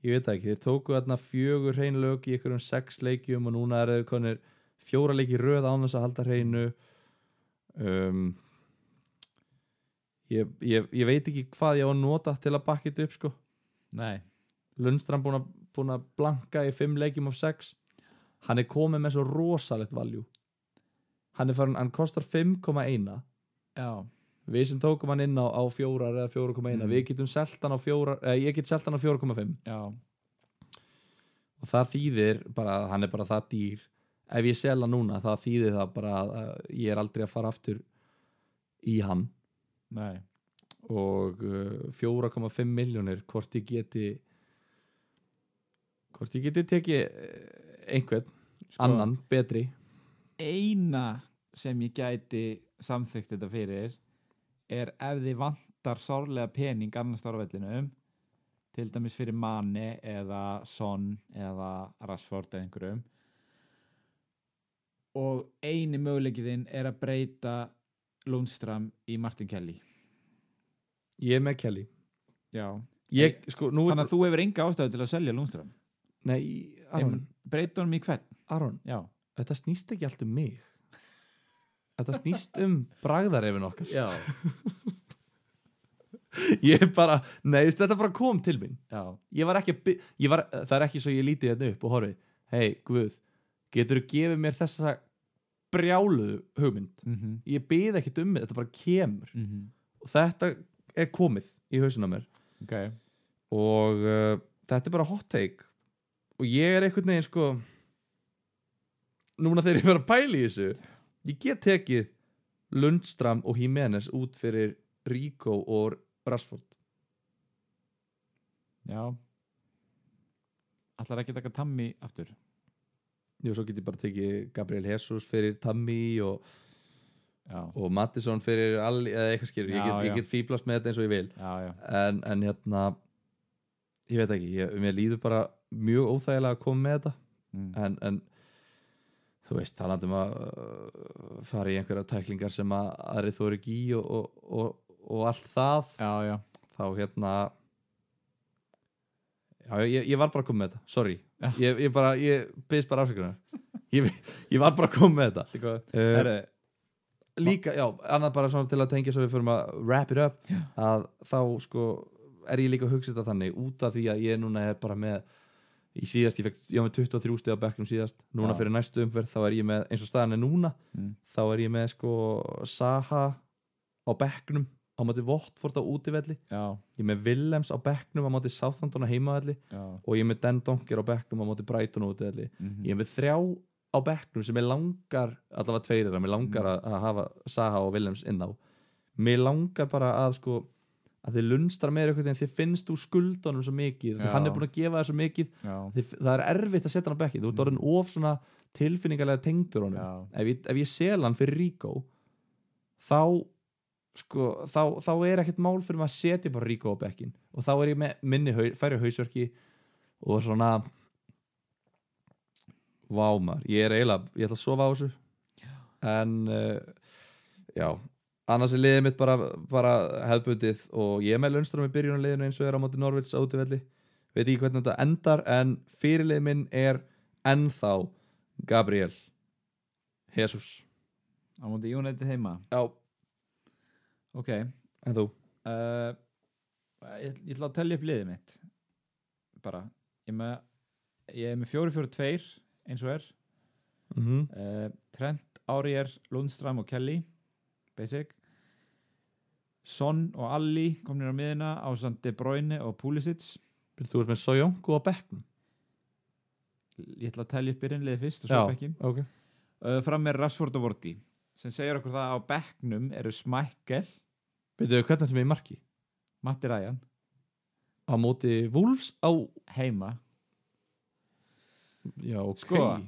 A: ég veit það ekki, þeir tóku þarna fjögur hrein lög í einhverjum sex leikjum og núna eru þeir konir fjóra leiki í röð án þess að halda hreinu um, ég, ég, ég veit ekki hvað ég á að nota til að bakka þetta upp sko
B: nei
A: Lundström búin að, búin að blanka í fimm leikjum af sex hann er komið með svo rosalegt valjú hann er farin, hann kostar 5,1
B: Já,
A: við sem tókum hann inn á, á fjórar eða 4,1
B: Mm.
A: við getum selt hann á fjórar eða ég get selt hann á 4,5
B: já,
A: og það þýðir bara að hann er bara það dýr ef ég sel hann núna það þýðir það bara að, að ég er aldrei að fara aftur í hann
B: nei
A: og uh, 4,5 miljónir hvort ég geti hvort ég geti tekið eh, einhvern,
B: Sko,
A: annan, betri
B: Eina sem ég gæti samþykkt þetta fyrir er ef þið vantar sárlega pening annars starfvellinum til dæmis fyrir Mane eða Son eða Rashford eða einhverjum og eini möguleikiðinn er að breyta Lundstram í Martin Kelly
A: ég er með Kelly
B: Já,
A: ég, sko, nú,
B: þannig að þú hefur enga ástæðu til að selja Lundström
A: Nei, Aron,
B: breyta honum í hvern
A: Aron
B: já,
A: Þetta snýst ekki allt um mig Þetta snýst um bragðarefin okkar
B: já,
A: Ég bara, nei, þú veist, þetta bara kom til mín
B: já.
A: Ég var ekki, að bi- ég var, það er ekki svo ég lítið hérna upp og horfið Hei, Guð, getur þú gefið mér þessa brjáluðu hugmynd
B: Mm -hmm.
A: Ég byð ekkert um mig, þetta bara kemur
B: Mhm.
A: Og þetta er komið í hausinn á mér
B: ok
A: og uh, þetta er bara hot take og ég er einhvern veginn sko núna þegar ég verið að pæla í þessu ég get tekið Lundstram og Jimenez út fyrir Rico og Rashford
B: já ætlar ekki að taka Tammy aftur
A: Jú, svo get ég bara tekið Gabriel Jesus fyrir Tammy og,
B: já,
A: og Mattisson fyrir Alli eða eitthvað skilur, ég
B: Já,
A: get,
B: já.
A: ég get fýblast með þetta eins og ég vil
B: já, já,
A: en, en hérna ég veit ekki, ég, mér líður bara mjög óþægilega að koma með þetta
B: mm.
A: en, en þú veist, talandum að uh, fara í einhverja tæklingar sem að aðri þú eru ekki í og, og, og, og allt það
B: já, já
A: þá hérna já, ég, ég var bara að koma með þetta sorry,
B: Já.
A: ég, ég bara ég byrst bara afsökunar ég, ég var bara að koma með þetta
B: líka
A: uh,
B: Herri,
A: líka, já, annað bara svona til að tengja svo við fyrir að wrap it up
B: Já.
A: að þá sko er ég líka að hugsa þetta þannig út af því að ég núna er bara með í síðast, ég fekk, ég var með 23 stið á bekknum síðast, núna
B: Já.
A: fyrir næstu umferð þá er ég með, eins og staðan er núna
B: Mm.
A: þá er ég með sko Saha á bekknum á móti Vottford á útivelli
B: já,
A: ég er með Willems á bekknum á móti Southampton á heimavelli
B: já
A: og ég er með Den Donker á bekknum á móti Brighton á útivelli
B: mhm.
A: ég er með þrjá á bekknum sem ég langar allavega tveir þeirra, mér langar að, að hafa Saha og Willems inn á mér langar bara að sko að þið lunstar meira einhvern veginn, þið finnst úr skuldunum svo mikið, því
B: Já.
A: hann er búin að gefa þér svo mikið
B: já,
A: þið, það er erfitt að setja hann á bekkið þú ert orðin of svona tilfinningarlega tengdur honum
B: já,
A: ef ég, ef ég sel hann fyrir Ríkó þá sko, þá, þá er ekkert mál fyrir maður að setja bara Ríkó á bekkin og þá er ég með minni hau, færri hausverki og svona vá maður, ég er eiginlega ég ætla að sofa á þessu en uh, já annars er liðið mitt bara, bara hefðbundið og ég er með lönstram í byrjunarliðinu eins og er á móti Norvits á útivelli veit ekki hvernig þetta endar en fyrirlið minn er ennþá Gabriel Jesus
B: á móti United heima
A: Já,
B: ok,
A: en þú?
B: uh, ég, ég ætla að tellja upp liðið mitt bara ég er með, ég er með 4-4-2 eins og er
A: Mm -hmm.
B: uh, Trent, Aurier, Lundström og Kelly basic Son og Alli komnir á miðina á De Bruyne og Pulisic
A: Þú ert með Sojongu á bekknum
B: ég ætla að tellja upp byrjunliðið fyrst og svo
A: Já.
B: ekki
A: Ok
B: uh, fram er Rashford og Vorti sem segir okkur það að á bekknum eru Smækkel,
A: Veitu, hvernig ertu með í marki?
B: Matti Ræjan
A: Á móti Wolves á
B: heima
A: Já, ok
B: Sko.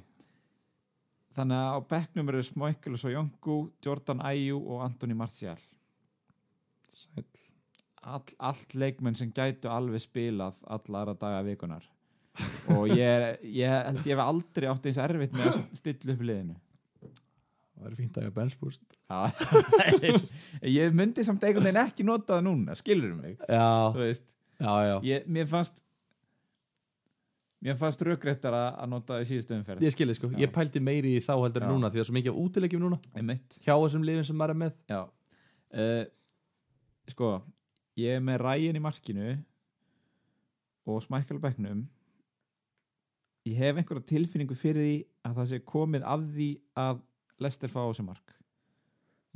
B: þannig að á bekknum eru Smækkel og Sojongu Jordan Ayew og Anthony Martial
A: Sæll.
B: all, allt leikmenn sem gætu alveg spilað alla aðra daga vikunar og ég, ég held ég hef aldrei átt eins erfitt með að stilla upp liðinu
A: Það er fínt að ég er benspúst
B: Já. ég myndi samt einhvern veginn ekki nota það núna, skilur mig
A: Já,
B: þú veist,
A: já, já
B: ég, mér fannst mér fannst rökréttar að nota það í síðustu umferð
A: Ég skilði sko,
B: Já.
A: ég pældi meiri í þá heldur en
B: Já.
A: núna því það er svo mikið af útilegjum núna
B: einmitt
A: hjá þessum liðum sem maður er með
B: Já. Uh, sko, ég er með rægin í markinu og smækkel á bekknum ég hef einhverja tilfinningu fyrir því að það sé komið að því að Lester fá á sig mark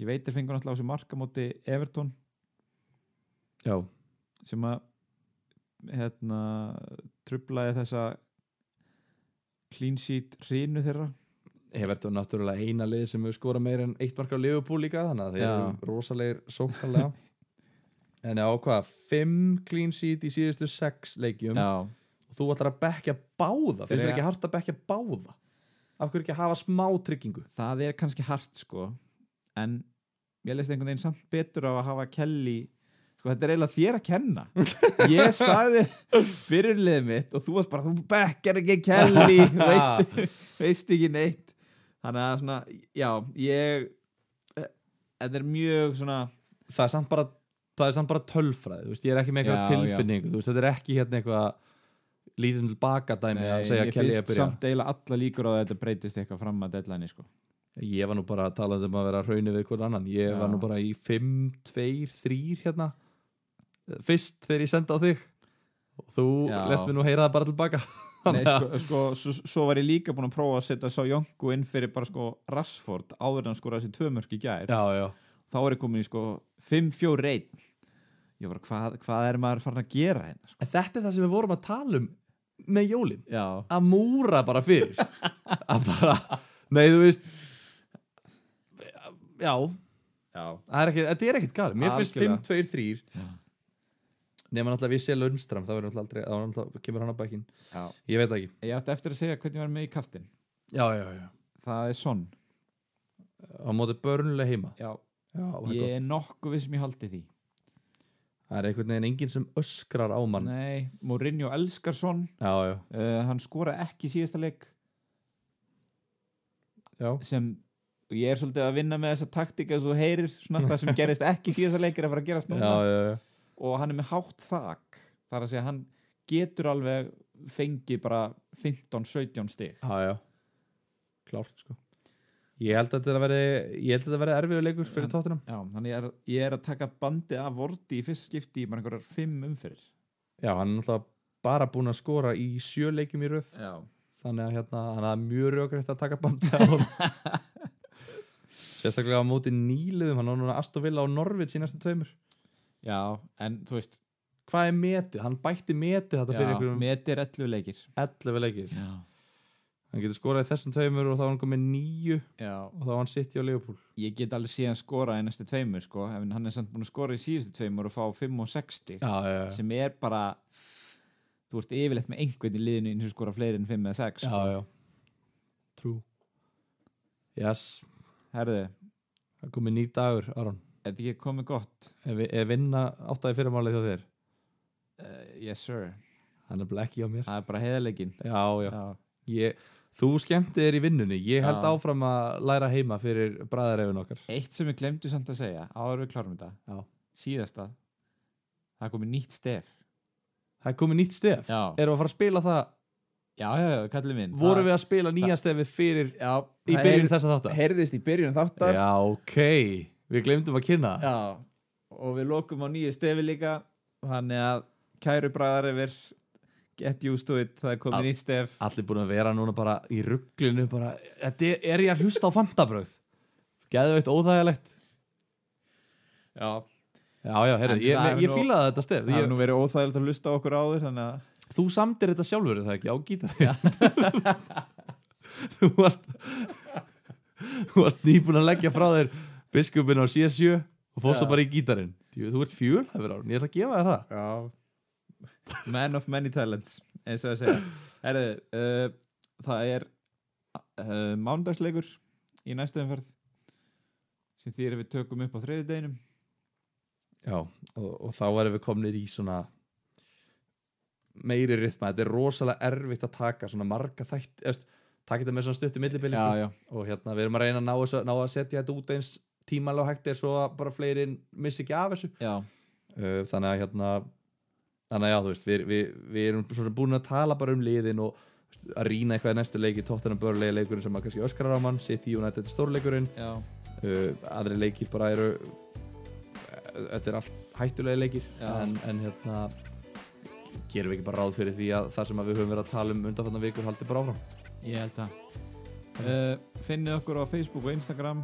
B: ég veit þeir fengur náttúrulega á sig mark á móti Everton
A: Já,
B: sem að hérna, trublaði þessa clean sheet hrinu þeirra
A: hefur þetta náttúrulega eina lið sem hefur skorað meira en eitt mark á Liverpool líka þannig að þeir
B: Já.
A: eru rosalegir sóknalega En já, hvað, fimm clean sheet í síðustu sex leikjum
B: Já.
A: og þú ætlar að bekja báða finnst
B: Þeir
A: þér
B: eiga-
A: ekki hart að bekja báða af hverju ekki að hafa smá tryggingu
B: það er kannski hart sko en ég leist einhvern veginn samt betur á að hafa Kelly sko þetta er eiginlega þér að kenna ég sagði fyrirlið mitt og þú varst bara þú bekkar ekki Kelly veist, veist ekki neitt þannig að svona já ég eh, þetta er mjög svona
A: það er samt bara, það er samt bara tölfræði þú veist, ég er ekki með
B: Já,
A: eitthvað
B: já.
A: tilfinningu þú veist, þetta er ekki hérna eitthvað lítið til baka dæmi að segja
B: ég
A: Kelly að
B: finnst
A: byrja
B: samt eiginlega alla líkur á að þetta breytist eitthvað fram að deadline sko.
A: ég var nú bara að tala um að vera hraunir við hvern annan ég
B: Já.
A: var nú bara í 5, 2, 3 hérna fyrst þegar ég senda á þig og þú
B: Já.
A: lest mér nú heyra það bara til baka
B: Nei, sko, sko, svo, svo var ég líka búin að prófa að setja sá Jónku inn fyrir bara sko Rassford áður en hann skoraði þessi tvö mörk í gær
A: já, já,
B: þá er ég komin í sko 5-4-1 ég var hvað, hvað er maður farin að gera hérna sko?
A: En þetta er það sem við vorum að tala um með jólin
B: já,
A: að múra bara fyrir að bara, nei þú veist já það
B: já,
A: er ekki, þetta er ekkit galið mér finnst
B: Algjörlega.
A: 5, 2, 3
B: Já.
A: nema náttúrulega við sé lönnstram þá verður náttúrulega aldrei, þá náttúrulega kemur hann á bakinn
B: já.
A: ég veit það ekki,
B: ég átti eftir að segja hvernig ég var með í kaftin
A: já, já, já
B: það er sonn
A: á móti börnulega heima
B: já,
A: já, það, er
B: ég
A: gott.
B: er nokkuð við sem ég haldi því
A: það er einhvern veginn enginn sem öskrar á mann
B: nei, Mourinho elskar sonn
A: já, já,
B: uh, hann skoraði ekki í síðasta leik
A: já,
B: sem og ég er svolítið að vinna með þessa taktika þú heyrir svona það sem gerist ekki í síðasta leik er að fara að gerast
A: já,
B: núna
A: já, já.
B: og hann er með hátt þak þar að segja hann getur alveg fengið bara 15-17 stig
A: Já, já Klárt sko Ég held að þetta verði, ég held að þetta verði erfiður leikur fyrir
B: En-
A: tóttunum
B: Já, þannig ég er, ég er að taka bandið af vorti í fyrst skipti í bara einhverjar fimm umfyrir
A: Já, hann er náttúrulega bara búin að skora í sjö leikjum í röð
B: Já,
A: Þannig að hérna, hann er mjög rjókriðt að taka bandið á hann Sérstaklega á móti nýliðum, hann á núna Aston Villa og Norvits í næstu tveimur
B: en þú veist
A: Hvað er metið? Hann bætti metið þetta fyrir
B: já,
A: einhverjum
B: metir 11 leikir
A: 11 leikir
B: já.
A: Hann getur skorað í þessum tveimur og þá var hann komið nýju
B: já,
A: og þá var hann sitt í á Leopold
B: ég get alveg síðan skora í næstu tveimur sko, en hann er samt búin að skora í síðustu tveimur og fá 5 og 6 stig
A: Já, já, já,
B: sem er bara þú ert yfirleitt með einhvern í liðinu eins og skora fleiri en 5 eða sko. 6
A: já, já. Trú Yes,
B: herðu,
A: það er komið nýr dagur, Aron
B: er þetta ekki komið gott?
A: Ef, vi- ef vinna áttaði fyrirmálið hjá þér
B: Uh, yes sir,
A: Hann er bara ekki á mér
B: það er bara heiðarleikin
A: Já, já,
B: já,
A: Ég, Þú skemmti þér í vinnunni Ég held
B: Já.
A: áfram að læra heima fyrir bræðarefin okkar
B: eitt sem við glemdu samt að segja áður við klárum þetta
A: Já.
B: síðasta, það er komið nýtt stef
A: Það er komið nýtt stef
B: já, já,
A: Erum við að fara að spila það?
B: já, já kallið minn
A: Vorum við að spila nýja stefið fyrir
B: já,
A: í byrjun þessa þáttar?
B: heyrðist í byrjun þáttar
A: Já, ok Við glemdum að kynna það.
B: Já, og við lokum á nýju stefi líka þannig að kæru bræðar yfir get used to it, það er komið
A: Að-
B: nýtt stef
A: Allir búin að vera núna bara í rugglinu bara, Þetta er, er ég að hlusta á fandabröð Geðveitt óþægilegt
B: já,
A: Já, já, heyrðu,
B: En
A: ég,
B: það
A: ég,
B: er
A: ég
B: nú-
A: fílaði þetta stef
B: Það
A: ég,
B: hefur nú verið óþægilegt að hlusta á okkur áður þannig að
A: Þú samdir þetta sjálfur er það ekki á gítar Þú varst Þú varst nýbúin að leggja frá þér biskupin á C7 og fórst
B: Já.
A: það bara í gítarinn Þú, þú ert fjölhæfur árun, ég ætla að gefa þér það
B: Já Man of many talents eins og að segja Herðu, uh, það er uh, mándagsleikur í næstu umferð sem þýr við tökum upp á þriðudeginum
A: Já, og, og þá erum við komnir í svona meiri rytma þetta er rosalega erfitt að taka svona marga þætt eftir, taka þetta með svona stuttum millibili sko.
B: já,
A: og hérna við erum að reyna að ná, þessu, ná að setja þetta út eins tímalega og hægt er svo að bara fleiri missi ekki af þessu
B: já,
A: Uh, þannig að hérna þannig að já þú veist við, við, við erum svona búin að tala bara um liðin og þú veist, að rýna eitthvað í næstu leiki tóttunum börulegi leikurinn sem að kannski öskrar á mann City United er stórleikurinn
B: já,
A: uh, aðri leikir bara eru eh, þetta er allt hættulegi leikir
B: Já.
A: en, en hérna gerum við ekki bara ráð fyrir því að það sem að við höfum verið að tala um undanfarnar vikur haldi bara áfram
B: ég held það uh, Finnið okkur á Facebook og Instagram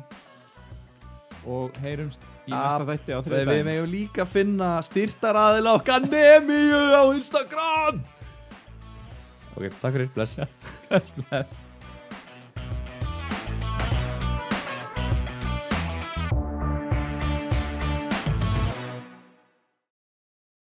B: og heyrumst í
A: Ah,
B: næsta þætti á
A: við, við
B: þriðudaginn
A: meðum líka finna styrtaraðil okkar nemiðu á Instagram ok, takk fyrir, bless
B: Bless